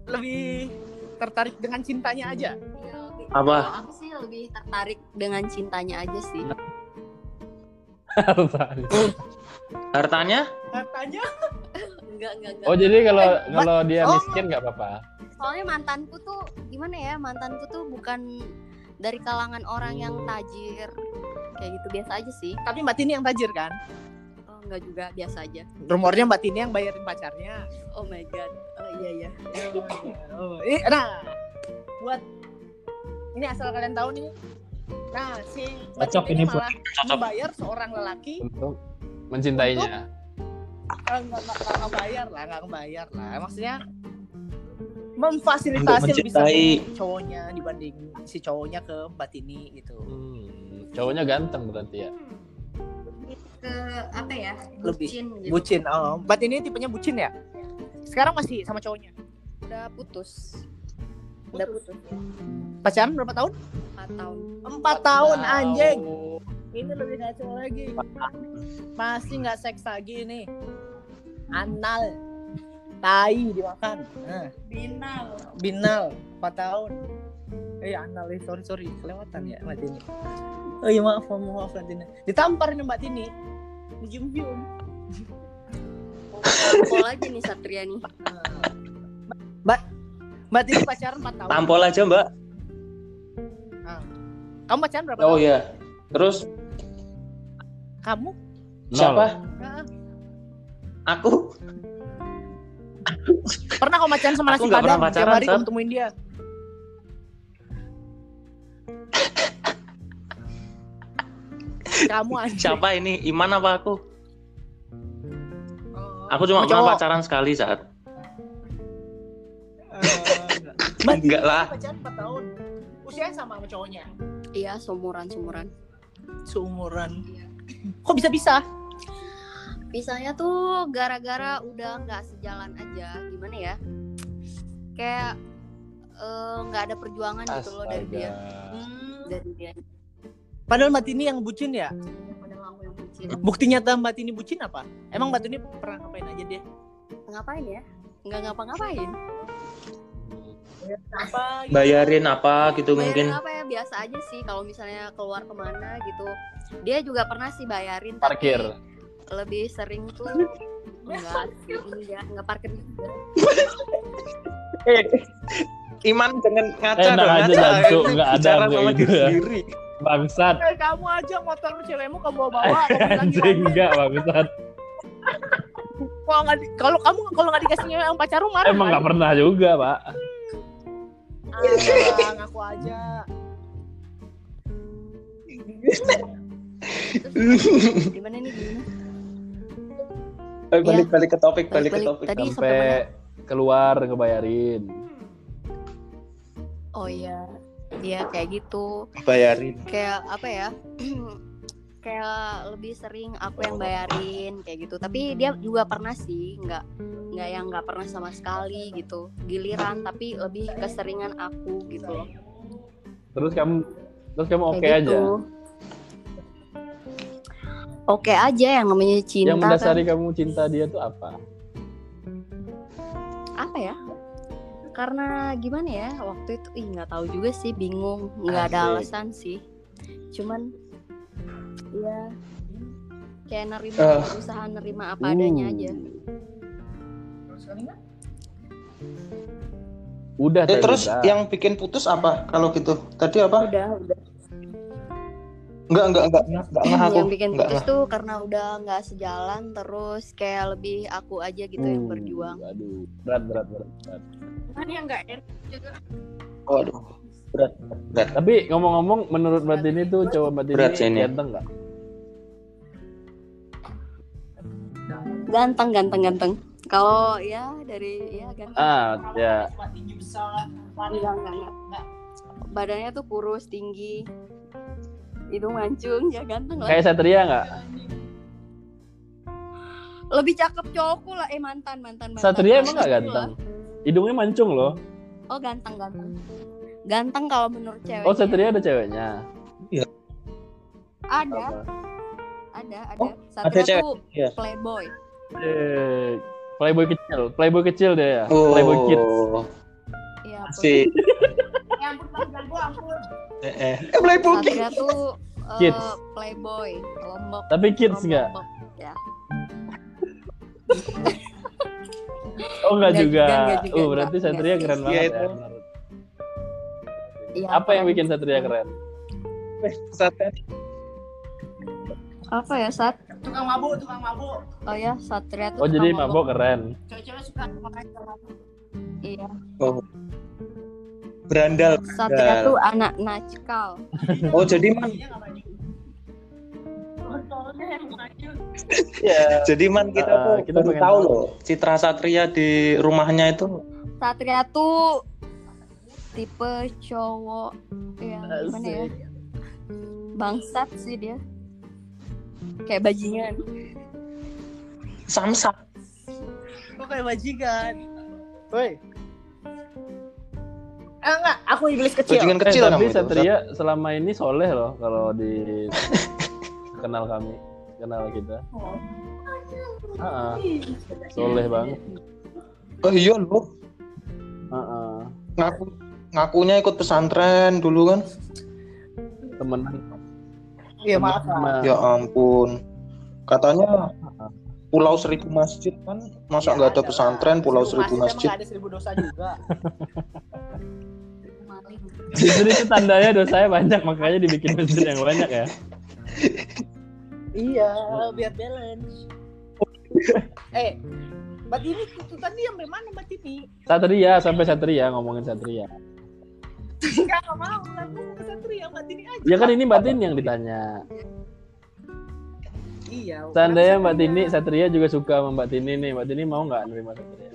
[SPEAKER 1] lebih tertarik dengan cintanya aja.
[SPEAKER 5] Iya, lebih-
[SPEAKER 2] Apa?
[SPEAKER 5] kalau Aku sih lebih tertarik dengan cintanya aja sih.
[SPEAKER 3] Apaan?
[SPEAKER 2] Hartanya?
[SPEAKER 1] Katanya
[SPEAKER 5] Enggak, enggak, enggak.
[SPEAKER 3] oh, jadi kalau
[SPEAKER 1] Eh, Mbak-
[SPEAKER 3] kalau dia
[SPEAKER 1] Oh.
[SPEAKER 3] miskin nggak apa-apa.
[SPEAKER 5] Soalnya mantanku tuh gimana ya? Mantanku tuh bukan dari kalangan orang yang tajir. Kayak gitu biasa aja sih.
[SPEAKER 1] tapi Mbak Tini yang tajir kan?
[SPEAKER 5] Oh, enggak juga, biasa aja.
[SPEAKER 1] Rumornya Mbak Tini yang bayarin pacarnya.
[SPEAKER 5] Oh my god. Oh iya iya.
[SPEAKER 1] Oh, ini, nah, buat ini asal kalian tahu nih. Nah, si Mbak
[SPEAKER 2] Cocok
[SPEAKER 1] Tini
[SPEAKER 2] ini
[SPEAKER 1] malah
[SPEAKER 2] Cocok.
[SPEAKER 1] membayar seorang lelaki
[SPEAKER 3] Untuk mencintainya.
[SPEAKER 1] eh, nggak nggak nggak ngebayar lah, nggak ngebayar lah. Maksudnya memfasilitasi
[SPEAKER 2] Untuk
[SPEAKER 1] lebih sering
[SPEAKER 2] mencintai.
[SPEAKER 1] cowoknya dibanding si cowoknya ke Mbak Tini gitu.
[SPEAKER 3] Hmm, cowoknya ganteng berarti ya.
[SPEAKER 5] Ke apa ya?
[SPEAKER 1] Lebih.
[SPEAKER 5] Bucin gitu.
[SPEAKER 1] Bucin, oh, Mbak Tini tipenya bucin ya? Sekarang masih sama cowoknya.
[SPEAKER 5] Udah putus.
[SPEAKER 1] Udah putus. Pacaran berapa tahun?
[SPEAKER 5] 4 tahun.
[SPEAKER 1] Empat tahun
[SPEAKER 3] Wow.
[SPEAKER 1] nah, anjing. Ini lebih kacau lagi. Masih nggak seks lagi nih. Anal. Tai dimakan. Nah,
[SPEAKER 6] Binal.
[SPEAKER 1] binal. Empat tahun. Eh anal eh, sorry sorry kelewatan ya Mbak Tini. Oh iya maaf maaf, maaf Mbak Tini. Ditampar nih Mbak Tini. Mujium jium.
[SPEAKER 5] Pol aja nih Satria nih.
[SPEAKER 1] Mbak Mbak Tini pacaran empat tahun.
[SPEAKER 2] Tampol aja mbak.
[SPEAKER 1] Kamu pacaran berapa
[SPEAKER 2] Oh
[SPEAKER 1] tahun?
[SPEAKER 2] iya. Terus
[SPEAKER 1] Kamu?
[SPEAKER 3] Nol.
[SPEAKER 2] siapa?
[SPEAKER 1] Hah?
[SPEAKER 2] Aku.
[SPEAKER 1] Pernah kamu pacaran sama
[SPEAKER 2] Aku
[SPEAKER 1] nasi
[SPEAKER 2] nggak pernah
[SPEAKER 1] padang? Tiap
[SPEAKER 2] pacaran,
[SPEAKER 1] hari kamu
[SPEAKER 2] Sab.
[SPEAKER 1] temuin dia. Kamu Oh. aja.
[SPEAKER 2] Siapa ini? Iman apa aku? Aku
[SPEAKER 1] Sama
[SPEAKER 2] cuma pernah
[SPEAKER 1] Oh, cowok.
[SPEAKER 2] pacaran sekali saat.
[SPEAKER 1] Eh,
[SPEAKER 2] Enggak lah.
[SPEAKER 1] Pacaran 4 tahun. Usianya sama sama cowoknya.
[SPEAKER 5] Iya, seumuran seumuran.
[SPEAKER 1] Seumuran. Iya. Kok bisa-bisa?
[SPEAKER 5] Pisahnya tuh gara-gara
[SPEAKER 2] Hmm.
[SPEAKER 5] udah nggak sejalan aja. Gimana ya? Kayak eh, nggak ada perjuangan gitu loh dari dia. Dari dia.
[SPEAKER 1] Hmm. Padahal Mbak Tini yang bucin ya?
[SPEAKER 5] Padahal aku yang bucin.
[SPEAKER 1] Bukti nyata Mbak Tini bucin apa? Emang Mbak Tini pernah ngapain aja dia?
[SPEAKER 5] Ngapain ya? Nggak ngapa-ngapain.
[SPEAKER 1] Apa gitu?
[SPEAKER 2] Bayarin apa gitu mungkin.
[SPEAKER 5] Bayarin apa ya? Biasa aja sih. Kalau misalnya keluar kemana gitu, dia juga pernah sih bayarin. tapi
[SPEAKER 3] Parkir.
[SPEAKER 5] Lebih sering
[SPEAKER 2] (laughs)
[SPEAKER 5] tuh. Enggak, sih, enggak, enggak parkir juga.
[SPEAKER 2] Eh, (laughs) Iman jangan ngaca
[SPEAKER 3] Enak
[SPEAKER 2] dong,
[SPEAKER 3] aja,
[SPEAKER 2] ngaca.
[SPEAKER 3] Jansu. Nggak ada
[SPEAKER 2] Bicara
[SPEAKER 3] aku
[SPEAKER 2] sama
[SPEAKER 3] kayak
[SPEAKER 2] diri
[SPEAKER 3] gitu ya.
[SPEAKER 2] sendiri.
[SPEAKER 3] Bangsat.
[SPEAKER 1] Eh, kamu aja motor cewekmu kamu
[SPEAKER 3] (laughs)
[SPEAKER 1] bawa-bawa. kamu bilang
[SPEAKER 3] Anjing
[SPEAKER 1] gimana?
[SPEAKER 3] enggak bangsat.
[SPEAKER 1] Kalau nggak di- Kalau kamu kalau nggak dikasih nyewa sama pacarmu marah.
[SPEAKER 3] Emang nggak pernah juga pak.
[SPEAKER 1] pernah. Ngaku aja.
[SPEAKER 5] Terus, gimana nih? Gimana?
[SPEAKER 2] Eh, balik balik ke topik, balik ke
[SPEAKER 5] Balik-balik.
[SPEAKER 2] topik.
[SPEAKER 5] Tadi sampai mana?
[SPEAKER 3] Sampai keluar ngebayarin.
[SPEAKER 5] Oh iya, iya kayak gitu.
[SPEAKER 2] Bayarin.
[SPEAKER 5] Kayak apa ya? (clears throat) kayak lebih sering aku yang bayarin kayak gitu. Tapi dia juga pernah sih, nggak nggak yang nggak pernah sama sekali gitu. Giliran tapi lebih keseringan aku gitu loh.
[SPEAKER 3] Terus kamu terus kamu oke
[SPEAKER 5] Kayak
[SPEAKER 3] aja.
[SPEAKER 5] gitu. Oke aja yang namanya cinta
[SPEAKER 3] Yang
[SPEAKER 5] kan.
[SPEAKER 3] mendasari kamu cinta dia tuh apa?
[SPEAKER 5] apa ya? Karena gimana ya waktu itu ih nggak tahu juga sih bingung nggak ada
[SPEAKER 3] Asik.
[SPEAKER 5] alasan sih. Cuman ya kayak nerima
[SPEAKER 2] Eh.
[SPEAKER 5] usaha nerima apa adanya
[SPEAKER 3] Hmm.
[SPEAKER 5] aja.
[SPEAKER 3] Udah
[SPEAKER 2] Eh,
[SPEAKER 3] tadi
[SPEAKER 2] terus
[SPEAKER 3] udah.
[SPEAKER 2] yang bikin putus apa kalau gitu? Tadi apa?
[SPEAKER 5] Udah udah.
[SPEAKER 2] Enggak, enggak, enggak. Enggak ngeh aku.
[SPEAKER 5] yang bikin
[SPEAKER 2] Enggak
[SPEAKER 5] putus tuh karena udah nggak sejalan terus kayak lebih aku aja gitu yang
[SPEAKER 3] Hmm,
[SPEAKER 5] berjuang.
[SPEAKER 3] Aduh, berat berat berat. berat.
[SPEAKER 6] Cuman yang nggak enak juga.
[SPEAKER 2] ngeh. Waduh. Berat. Berat.
[SPEAKER 3] Tapi ngomong-ngomong, menurut Mbak Tini tuh cowok Mbak Tini
[SPEAKER 2] Berat sih ini.
[SPEAKER 3] ganteng nggak?
[SPEAKER 5] Ganteng ganteng ganteng. Kalau ya dari ya ganteng.
[SPEAKER 3] Ah, ya.
[SPEAKER 5] Enggak, enggak, enggak. Badannya tuh kurus, tinggi. Hidung mancung, ya ganteng lah.
[SPEAKER 3] Kayak Satria nggak?
[SPEAKER 5] Lebih cakep cowokku lah. Eh mantan, mantan, mantan.
[SPEAKER 3] Satria emang nggak
[SPEAKER 5] Cowokku
[SPEAKER 3] ganteng?
[SPEAKER 5] lah.
[SPEAKER 3] Hidungnya mancung loh.
[SPEAKER 5] Oh ganteng, ganteng. Ganteng kalau menurut cewek.
[SPEAKER 3] Oh, Satria ada ceweknya.
[SPEAKER 5] Ada,
[SPEAKER 3] Apa?
[SPEAKER 5] ada, ada.
[SPEAKER 2] Oh,
[SPEAKER 5] Satria
[SPEAKER 2] cewek,
[SPEAKER 5] tuh
[SPEAKER 2] iya.
[SPEAKER 5] playboy.
[SPEAKER 3] Eh, Playboy kecil, Playboy kecil dia ya.
[SPEAKER 2] Oh.
[SPEAKER 3] Playboy kids.
[SPEAKER 5] Iya, (laughs) playboy.
[SPEAKER 2] Asik.
[SPEAKER 1] Ya ampun, ampun, ampun.
[SPEAKER 2] Eh, eh. Eh, Playboy kids.
[SPEAKER 5] Satria tuh eh,
[SPEAKER 3] Kids.
[SPEAKER 5] playboy, lombok.
[SPEAKER 3] Tapi kids
[SPEAKER 5] Lombok,
[SPEAKER 3] nggak?
[SPEAKER 5] Lombok. Ya.
[SPEAKER 3] Oh, nggak
[SPEAKER 5] Nggak
[SPEAKER 3] juga.
[SPEAKER 5] juga, nggak juga,
[SPEAKER 3] Oh, berarti
[SPEAKER 5] nggak,
[SPEAKER 3] Satria
[SPEAKER 5] nggak.
[SPEAKER 3] keren
[SPEAKER 2] Iya,
[SPEAKER 3] banget
[SPEAKER 2] itu.
[SPEAKER 3] ya. menurut.
[SPEAKER 5] Iya,
[SPEAKER 3] Apa yang bikin Satria keren?
[SPEAKER 2] Satria.
[SPEAKER 5] Apa ya, Sat?
[SPEAKER 1] Tukang mabuk, tukang mabuk.
[SPEAKER 5] Oh ya, Satria tuh
[SPEAKER 3] Oh, jadi
[SPEAKER 5] tukang
[SPEAKER 3] mabok keren.
[SPEAKER 1] Cewek-cewek suka makan tukang mabuk.
[SPEAKER 5] Iya.
[SPEAKER 2] Berandal.
[SPEAKER 5] Satria tuh anak nakal.
[SPEAKER 2] Oh, jadi man.
[SPEAKER 1] Iya, nggak maju.
[SPEAKER 3] Iya.
[SPEAKER 2] Jadi man kita
[SPEAKER 3] Ah,
[SPEAKER 2] tuh
[SPEAKER 3] kita
[SPEAKER 2] baru
[SPEAKER 3] pengen
[SPEAKER 2] tahu
[SPEAKER 3] tahu.
[SPEAKER 2] loh Citra Satria di rumahnya itu
[SPEAKER 5] Satria tuh tipe cowok yang gimana ya? Bangsat sih dia. Kayak bajingan.
[SPEAKER 2] samsak.
[SPEAKER 1] Kok kayak bajingan? Woi. Eh, enggak, aku iblis kecil.
[SPEAKER 2] Bajingan
[SPEAKER 3] Eh,
[SPEAKER 2] kecil
[SPEAKER 3] tapi
[SPEAKER 2] namanya itu.
[SPEAKER 3] Satria selama ini soleh loh kalau
[SPEAKER 1] (laughs)
[SPEAKER 3] di kenal kami, kenal kita. Ah, ah. soleh banget.
[SPEAKER 2] Oh iya loh.
[SPEAKER 3] Ah, ah.
[SPEAKER 2] Ngaku ngakunya ikut pesantren dulu kan.
[SPEAKER 3] Temenan
[SPEAKER 1] Iya, maaf lah.
[SPEAKER 3] sama
[SPEAKER 2] Ya ampun. Katanya Pulau Seribu Masjid kan masa
[SPEAKER 1] Iya,
[SPEAKER 2] nggak ada
[SPEAKER 1] lah.
[SPEAKER 2] pesantren Pulau Seribu
[SPEAKER 1] emang
[SPEAKER 2] Masjid.
[SPEAKER 1] nggak ada seribu dosa juga.
[SPEAKER 5] Maling.
[SPEAKER 3] Justru itu tandanya dosanya banyak makanya dibikin masjid yang banyak ya.
[SPEAKER 1] iya, biar (laughs) balance. eh, Mbak Tini, tuntutan dia sampai mana Mbak Tini?
[SPEAKER 3] Satria sampai Satria ngomongin Satria.
[SPEAKER 1] Enggak, nggak mau. Lah, gua mau ke Satria, Mbak Tini aja.
[SPEAKER 3] Ya kan ini Mbak Tin yang ditanya.
[SPEAKER 1] Iya.
[SPEAKER 3] Seandainya Mbak Tini Satria juga suka sama Mbak Tini nih, Mbak Tini mau nggak nerima Satria?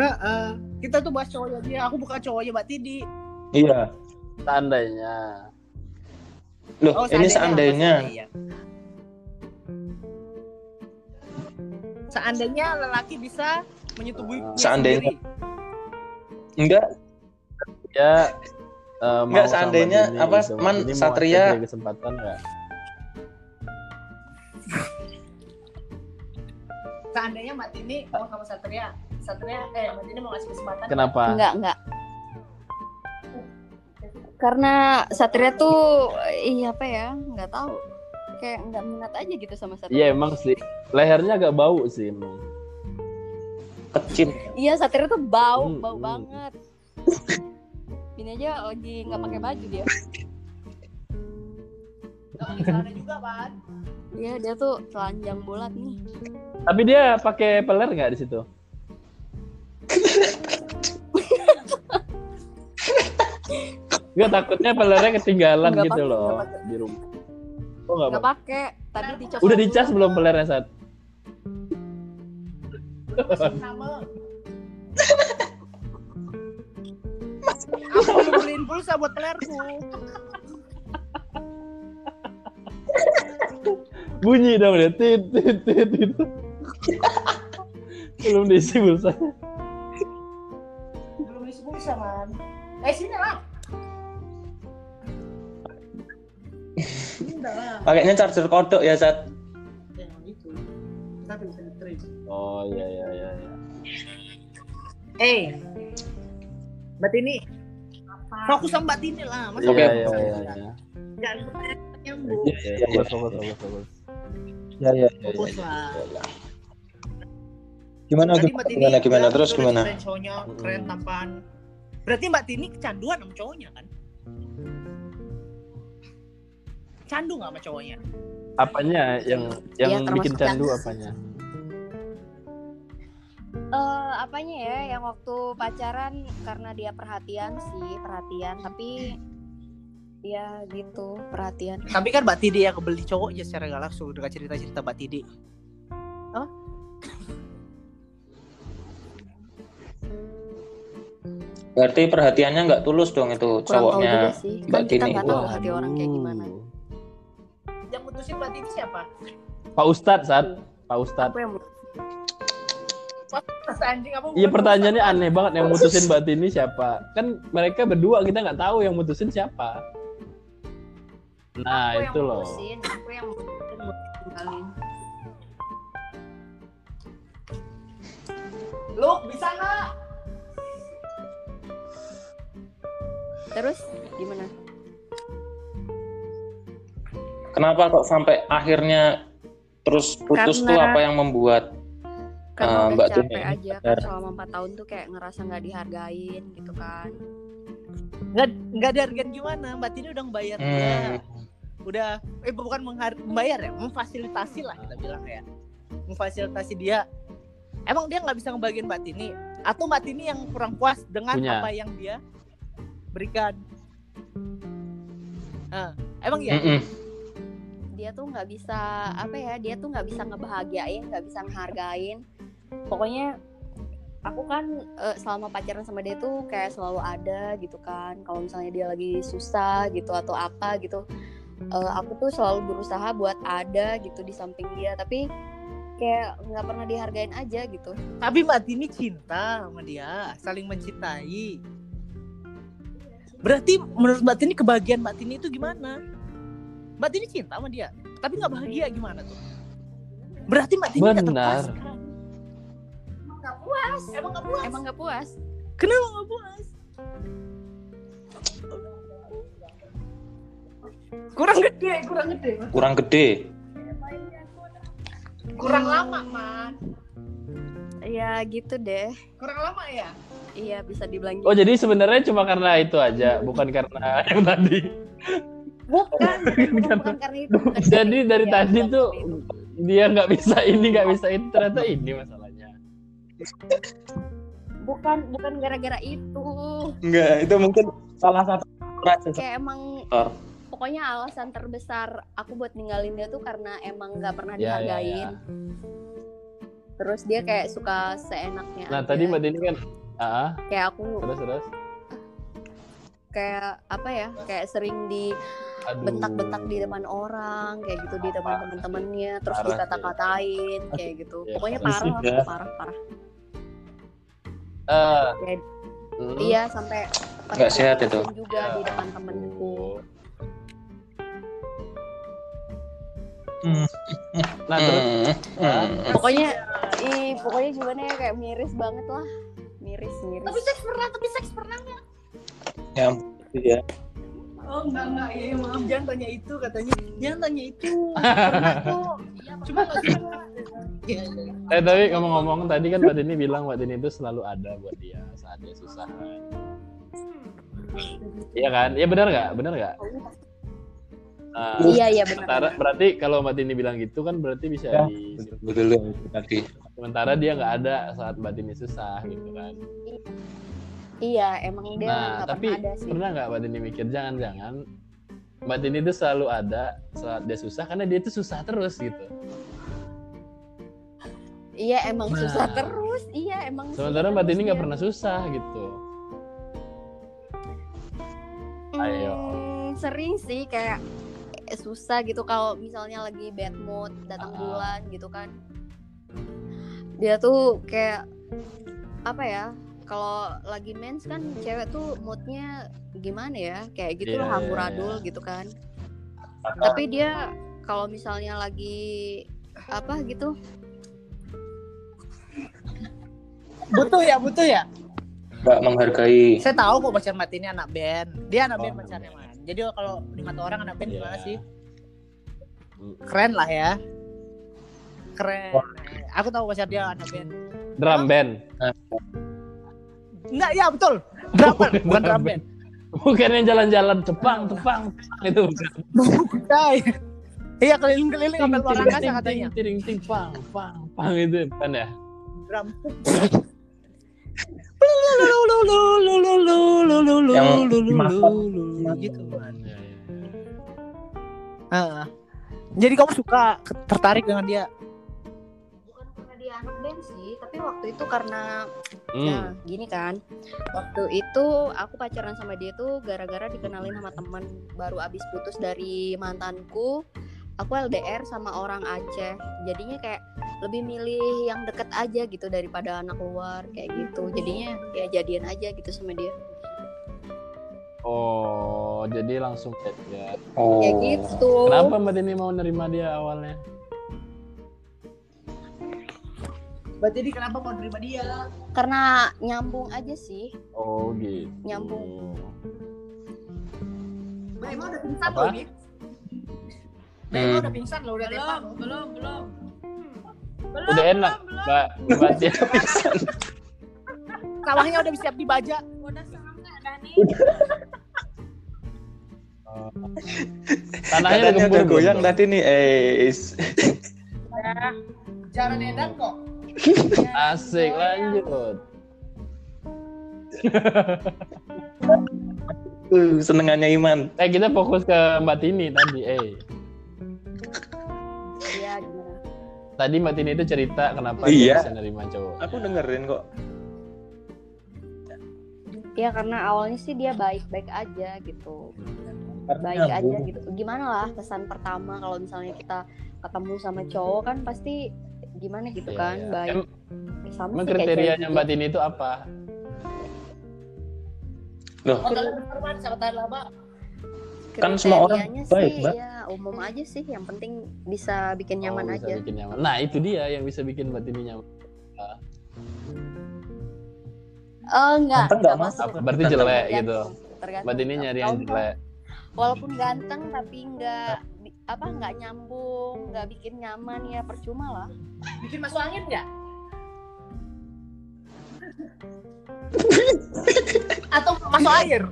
[SPEAKER 1] Heeh. Kita tuh bahas cowoknya dia. Aku bukan cowoknya Mbak Tidi.
[SPEAKER 2] Iya.
[SPEAKER 3] Seandainya.
[SPEAKER 2] Loh,
[SPEAKER 1] Oh,
[SPEAKER 2] ini
[SPEAKER 1] seandainya.
[SPEAKER 2] seandainya.
[SPEAKER 1] Seandainya. Seandainya lelaki bisa menyetubui dirinya
[SPEAKER 2] Seandainya.
[SPEAKER 1] sendiri.
[SPEAKER 2] Enggak,
[SPEAKER 3] Ya eh, mau
[SPEAKER 2] Nggak,
[SPEAKER 3] sama
[SPEAKER 2] seandainya,
[SPEAKER 3] Dini,
[SPEAKER 2] apa,
[SPEAKER 3] sama
[SPEAKER 2] Man,
[SPEAKER 3] Dini mau
[SPEAKER 2] Satria-
[SPEAKER 3] kasih kesempatan nggak?
[SPEAKER 1] Seandainya Mbak Tini mau sama Satria. Satria eh Mbak Tini mau ngasih kesempatan.
[SPEAKER 3] Kenapa?
[SPEAKER 5] Enggak, enggak. Karena Satria tuh iya apa ya? Enggak tahu. Kayak enggak minat aja gitu sama Satria.
[SPEAKER 3] Iya emang sih. Lehernya agak bau sih emang.
[SPEAKER 2] kecil.
[SPEAKER 5] Iya, Satria tuh bau,
[SPEAKER 3] Hmm,
[SPEAKER 5] bau
[SPEAKER 3] hmm.
[SPEAKER 5] banget. Ini aja lagi nggak pakai baju dia.
[SPEAKER 1] Kalau di sana juga, (laughs) Pan.
[SPEAKER 5] Iya, dia tuh telanjang bulat nih.
[SPEAKER 3] Tapi dia pakai peler nggak di situ? Gue takutnya pelernya ketinggalan
[SPEAKER 5] Nggak
[SPEAKER 3] gitu
[SPEAKER 5] pakai,
[SPEAKER 3] loh
[SPEAKER 5] nggak pakai.
[SPEAKER 3] di rumah. Oh, nggak
[SPEAKER 5] Enggak
[SPEAKER 3] pakai.
[SPEAKER 5] pakai. Tadi dicas.
[SPEAKER 3] Udah dicas belum pelernya saat?
[SPEAKER 1] Nama. Aku belum beliin pulsa buat pelerku.
[SPEAKER 3] Bunyi dong dia tit tit tit
[SPEAKER 5] (laughs)
[SPEAKER 3] tit. belum diisi pulsa.
[SPEAKER 1] Belum beli pulsa, Man. Eh, sini lah. Enggak lah.
[SPEAKER 2] Pakainya charger kodok ya, Sat.
[SPEAKER 1] Ya, gitu. Kita bisa ngetrim.
[SPEAKER 3] Oh iya iya iya. iya.
[SPEAKER 1] Eh, Mbak Tini. Fokus sama Mbak Tini lah. Masa
[SPEAKER 3] Iya
[SPEAKER 2] Oke.
[SPEAKER 3] iya iya. iya.
[SPEAKER 1] jangan nyambung.
[SPEAKER 3] Iya iya.
[SPEAKER 2] Iya,
[SPEAKER 3] Fokus fokus fokus fokus.
[SPEAKER 2] Ya, ya, ya,
[SPEAKER 1] Fokus lah.
[SPEAKER 2] Gimana,
[SPEAKER 1] Tadi
[SPEAKER 2] gimana,
[SPEAKER 1] Mbak Tini
[SPEAKER 2] gimana, gimana,
[SPEAKER 1] bilang
[SPEAKER 2] terus
[SPEAKER 1] itu
[SPEAKER 2] gimana?
[SPEAKER 1] dari Cowoknya keren
[SPEAKER 3] Mm.
[SPEAKER 1] tampan. Berarti Mbak Tini kecanduan sama cowoknya kan? Candu nggak sama cowoknya?
[SPEAKER 3] Apanya yang yang
[SPEAKER 5] Iya, termasuk
[SPEAKER 3] bikin candu
[SPEAKER 5] yang-
[SPEAKER 3] apanya?
[SPEAKER 5] Eh, apanya ya yang waktu pacaran karena dia perhatian sih, perhatian, tapi ya gitu, perhatian.
[SPEAKER 1] Tapi kan Mbak Tidi yang kebeli cowoknya secara gak langsung dengan cerita-cerita Mbak Tidi.
[SPEAKER 2] Berarti perhatiannya nggak tulus dong itu
[SPEAKER 5] Kurang tahu juga
[SPEAKER 2] cowoknya.
[SPEAKER 5] sih.
[SPEAKER 2] Mbak
[SPEAKER 5] Kan kita
[SPEAKER 2] Tini.
[SPEAKER 5] nggak tahu hati orang kayak gimana.
[SPEAKER 3] Nah,
[SPEAKER 1] Yang mutusin Mbak Tidi siapa?
[SPEAKER 3] Pak Ustadz saat Pak Ustadz.
[SPEAKER 5] Aku yang
[SPEAKER 1] Mas anjing apa?
[SPEAKER 3] Iya pertanyaannya aneh banget yang mutusin Mbak Tini siapa? Kan mereka berdua kita nggak tahu yang mutusin siapa. Nah
[SPEAKER 5] aku
[SPEAKER 3] itu
[SPEAKER 5] yang
[SPEAKER 3] loh.
[SPEAKER 5] mutusin, aku yang mutusin buat tinggalin.
[SPEAKER 1] Lu bisa nggak?
[SPEAKER 5] Terus gimana?
[SPEAKER 2] Kenapa kok sampai akhirnya terus putus
[SPEAKER 5] Karena-
[SPEAKER 2] tuh apa yang membuat?
[SPEAKER 5] Karena
[SPEAKER 2] Ah,
[SPEAKER 5] udah
[SPEAKER 2] Mbak
[SPEAKER 5] Kan capek
[SPEAKER 2] Tini,
[SPEAKER 5] aja kan
[SPEAKER 2] bener.
[SPEAKER 5] selama 4 tahun tuh kayak ngerasa nggak dihargain gitu kan.
[SPEAKER 1] Nggak, nggak ada harga gimana? Mbak Tidi udah
[SPEAKER 5] Ya,
[SPEAKER 1] ngebayar dia.
[SPEAKER 2] Hmm,
[SPEAKER 1] Udah, eh bukan menghar- membayar ya, memfasilitasi lah kita bilang ya. Memfasilitasi dia. Emang dia nggak bisa ngebagiin Mbak Tini? Atau Mbak Tini yang kurang puas dengan
[SPEAKER 3] Punya.
[SPEAKER 1] apa yang dia berikan? Ah, emang ya?
[SPEAKER 2] mm-mm.
[SPEAKER 5] dia tuh nggak bisa apa ya dia tuh nggak bisa ngebahagiain nggak bisa ngehargain pokoknya aku kan eh, selama pacaran sama dia tuh kayak selalu ada gitu kan kalau misalnya dia lagi susah gitu atau apa gitu eh, aku tuh selalu berusaha buat ada gitu di samping dia tapi kayak nggak pernah dihargain aja gitu
[SPEAKER 1] Tapi Mbak Tini cinta sama dia, saling mencintai. Berarti menurut Mbak Tini kebahagiaan Mbak Tini itu gimana? Mbak Tini cinta sama dia, tapi nggak bahagia gimana tuh? Berarti Mbak Tini nggak
[SPEAKER 3] Benar.
[SPEAKER 5] kan?
[SPEAKER 1] terpuaskan. Emang nggak puas? Emang nggak puas?
[SPEAKER 5] emang nggak puas
[SPEAKER 1] Kenapa nggak puas? Kurang gede, kurang gede.
[SPEAKER 2] Kurang gede.
[SPEAKER 1] Kurang lama, Man.
[SPEAKER 3] Iya,
[SPEAKER 5] ya gitu deh
[SPEAKER 1] Kurang lama ya?
[SPEAKER 5] iya bisa dibilang
[SPEAKER 3] Oh (laughs)
[SPEAKER 5] gitu
[SPEAKER 3] jadi sebenarnya cuma karena itu aja, bukan karena (laughs) yang tadi.
[SPEAKER 5] bukan bukan, bukan karena
[SPEAKER 3] (laughs)
[SPEAKER 5] itu bukan karena
[SPEAKER 3] Jadi
[SPEAKER 5] itu,
[SPEAKER 3] dari
[SPEAKER 5] ya,
[SPEAKER 3] tadi
[SPEAKER 5] bukan
[SPEAKER 3] tuh
[SPEAKER 5] karena itu.
[SPEAKER 3] dia nggak bisa ini nggak bisa itu ternyata ini masalahnya.
[SPEAKER 5] bukan bukan gara-gara itu
[SPEAKER 2] Enggak, itu mungkin salah satu rasa
[SPEAKER 5] kayak emang
[SPEAKER 2] Faktor.
[SPEAKER 5] pokoknya alasan terbesar aku buat ninggalin dia tuh karena emang nggak pernah
[SPEAKER 3] Ya, ya,
[SPEAKER 5] dihargain
[SPEAKER 3] ya.
[SPEAKER 5] terus dia kayak suka seenaknya
[SPEAKER 3] Nah
[SPEAKER 5] aja.
[SPEAKER 3] tadi mbak Dini kan, ah
[SPEAKER 5] kayak aku
[SPEAKER 3] terus terus,
[SPEAKER 5] kayak apa ya kayak sering
[SPEAKER 3] aduh.
[SPEAKER 5] dibentak-bentak di depan orang kayak gitu di depan
[SPEAKER 3] Parah.
[SPEAKER 5] temen-temennya terus
[SPEAKER 3] Parah sih.
[SPEAKER 5] dikata-katain kayak gitu
[SPEAKER 3] Ya,
[SPEAKER 5] pokoknya
[SPEAKER 3] parah
[SPEAKER 5] parah
[SPEAKER 2] sih,
[SPEAKER 5] lah,
[SPEAKER 2] ya.
[SPEAKER 5] parah parah
[SPEAKER 3] Eh,
[SPEAKER 5] Kayak-
[SPEAKER 3] hmm.
[SPEAKER 5] iya sampai pernah
[SPEAKER 2] Nggak sehat
[SPEAKER 5] dipukulin juga
[SPEAKER 3] Ya.
[SPEAKER 5] di depan temenku
[SPEAKER 2] Hmm.
[SPEAKER 3] Nah terus,
[SPEAKER 2] Hmm.
[SPEAKER 5] pokoknya ih pokoknya gimana ya kayak miris banget lah miris miris
[SPEAKER 6] Tapi seks pernah, tapi seks pernah.
[SPEAKER 2] Ya ampun, ya.
[SPEAKER 1] Oh enggak enggak ya maaf jangan tanya itu katanya jangan tanya itu pernah tuh (laughs) cuma nggak suka Iya, iya.
[SPEAKER 3] eh tapi ngomong-ngomong tadi kan mbak Dini bilang mbak Dini itu selalu ada buat dia saat dia susah. Iya kan? Iya benar nggak? Benar nggak? Nah,
[SPEAKER 5] iya iya benar
[SPEAKER 3] sementara berarti kalau mbak Dini bilang gitu kan berarti bisa
[SPEAKER 2] Ya.
[SPEAKER 3] di
[SPEAKER 2] Betul yang tadi.
[SPEAKER 3] sementara dia nggak ada saat mbak Dini susah gitu kan.
[SPEAKER 5] iya emang dia
[SPEAKER 3] nah
[SPEAKER 5] nggak
[SPEAKER 3] tapi
[SPEAKER 5] pernah ada sih
[SPEAKER 3] pernah nggak mbak Dini mikir jangan-jangan mbak Dini itu selalu ada saat dia susah karena dia itu susah terus gitu.
[SPEAKER 5] iya emang
[SPEAKER 3] Nah.
[SPEAKER 5] susah terus iya emang
[SPEAKER 3] Sementara
[SPEAKER 5] susah
[SPEAKER 3] mbak Dini
[SPEAKER 5] terus
[SPEAKER 3] nggak
[SPEAKER 5] dia.
[SPEAKER 3] pernah susah gitu. Ayo.
[SPEAKER 5] Hmm, sering sih kayak eh, susah gitu kalau misalnya lagi bad mood
[SPEAKER 3] Ah.
[SPEAKER 5] datang bulan gitu kan dia tuh kayak apa ya kalau lagi mens kan cewek tuh moodnya gimana ya kayak
[SPEAKER 3] Iya,
[SPEAKER 5] gitu loh
[SPEAKER 3] iya,
[SPEAKER 5] hamburadul gitu kan tapi dia kalau misalnya lagi apa gitu
[SPEAKER 1] butuh ya butuh ya
[SPEAKER 2] Enggak
[SPEAKER 5] Ya
[SPEAKER 2] menghargai.
[SPEAKER 1] saya tahu kok pacar mati ini anak band dia anak
[SPEAKER 3] Oh,
[SPEAKER 1] band
[SPEAKER 3] anak
[SPEAKER 1] pacarnya
[SPEAKER 3] band.
[SPEAKER 1] man jadi kalau lima orang anak band gimana
[SPEAKER 3] Iya.
[SPEAKER 1] sih
[SPEAKER 3] Mm.
[SPEAKER 1] keren lah ya keren aku tahu pacar dia anak band
[SPEAKER 3] Drum band.
[SPEAKER 1] enggak ya betul drummer bukan drum band
[SPEAKER 3] Bukan yang jalan-jalan tepang tepang tepang, itu bukan.
[SPEAKER 1] Bukan. iya keliling-keliling sampai luar
[SPEAKER 3] Ting,
[SPEAKER 1] angkasa
[SPEAKER 3] ting,
[SPEAKER 1] katanya
[SPEAKER 3] ting, ting, ting, pang pang pang itu bukan ya.
[SPEAKER 1] drum
[SPEAKER 2] Yang dimasak.
[SPEAKER 1] gitu man
[SPEAKER 3] Iya, iya, iya.
[SPEAKER 1] Ah. jadi kamu suka ke- tertarik dengan dia
[SPEAKER 5] bukan karena dia anak band sih tapi waktu itu karena
[SPEAKER 3] Hmm.
[SPEAKER 5] Nah, gini kan. Waktu itu aku pacaran sama dia tuh gara-gara dikenalin sama teman baru abis putus dari mantanku. Aku LDR sama orang Aceh. Jadinya kayak lebih milih yang deket aja gitu daripada anak luar kayak gitu. Jadinya ya jadian aja gitu sama dia.
[SPEAKER 3] Oh, jadi langsung ya.
[SPEAKER 2] Oh.
[SPEAKER 5] Kayak gitu.
[SPEAKER 3] Kenapa Mbak Dini mau nerima dia awalnya?
[SPEAKER 1] berarti dia kenapa mau terima dia
[SPEAKER 5] Karena nyambung aja sih.
[SPEAKER 3] Oh, gitu.
[SPEAKER 5] Nyambung.
[SPEAKER 1] Mbak Emma udah pingsan
[SPEAKER 3] Apa?
[SPEAKER 1] loh nih Mbak Emma
[SPEAKER 5] Nah,
[SPEAKER 2] Hmm.
[SPEAKER 1] udah pingsan loh udah tepat
[SPEAKER 6] Belum,
[SPEAKER 1] loh.
[SPEAKER 6] belum, belum. Belum,
[SPEAKER 3] Udah enak,
[SPEAKER 6] belum,
[SPEAKER 3] Mbak. Mbak Tia.
[SPEAKER 1] Sawahnya udah siap dibajak
[SPEAKER 6] belum. Udah sangat dah nih.
[SPEAKER 3] Tanahnya udah
[SPEAKER 2] Katanya
[SPEAKER 3] gembur
[SPEAKER 2] udah
[SPEAKER 3] belum?
[SPEAKER 2] goyang tadi nih. Eh, is- (laughs)
[SPEAKER 1] Jarang edan kok.
[SPEAKER 3] Asik,
[SPEAKER 5] Iya.
[SPEAKER 3] lanjut.
[SPEAKER 2] uh, senengannya Iman.
[SPEAKER 3] Eh, kita fokus ke Mbak Tini tadi. Eh,
[SPEAKER 5] Iya gimana?
[SPEAKER 3] tadi Mbak Tini itu cerita kenapa
[SPEAKER 2] Iya.
[SPEAKER 3] dia bisa nerima cowok.
[SPEAKER 2] Aku dengerin kok.
[SPEAKER 5] Ya karena awalnya sih dia baik-baik aja gitu. baik aja gitu. Gimana lah kesan pertama kalau misalnya kita ketemu sama cowok kan pasti gimana gitu
[SPEAKER 3] Hmm. Iya,
[SPEAKER 5] kan
[SPEAKER 3] iya.
[SPEAKER 5] baik.
[SPEAKER 3] Em- Emang
[SPEAKER 5] Sama sih kayak
[SPEAKER 3] kriterianya
[SPEAKER 5] cewek gitu?
[SPEAKER 3] Mbak
[SPEAKER 5] juga.
[SPEAKER 3] Tini itu apa?
[SPEAKER 1] Oh, kalau bener man sama tahan lama.
[SPEAKER 2] Kan semua orang
[SPEAKER 5] Kriterianya
[SPEAKER 2] baik,
[SPEAKER 5] sih,
[SPEAKER 2] Mbak.
[SPEAKER 5] Ya umum aja sih. Yang penting bisa bikin nyaman
[SPEAKER 3] Oh, bisa
[SPEAKER 5] aja.
[SPEAKER 3] bikin nyaman. Nah, itu dia yang bisa bikin Mbak Tini nyaman.
[SPEAKER 5] Eh enggak,
[SPEAKER 2] Ganteng nggak masuk?
[SPEAKER 5] masuk.
[SPEAKER 3] Apa? Berarti jelek gitu.
[SPEAKER 5] Tergantung, tergantung.
[SPEAKER 3] Mbak Tini nyari yang
[SPEAKER 5] Kalau
[SPEAKER 3] jelek.
[SPEAKER 5] Walaupun ganteng tapi enggak apa enggak nyambung, enggak bikin nyaman ya percuma lah.
[SPEAKER 1] Bikin masuk angin (laughs) nggak? Atau masuk air?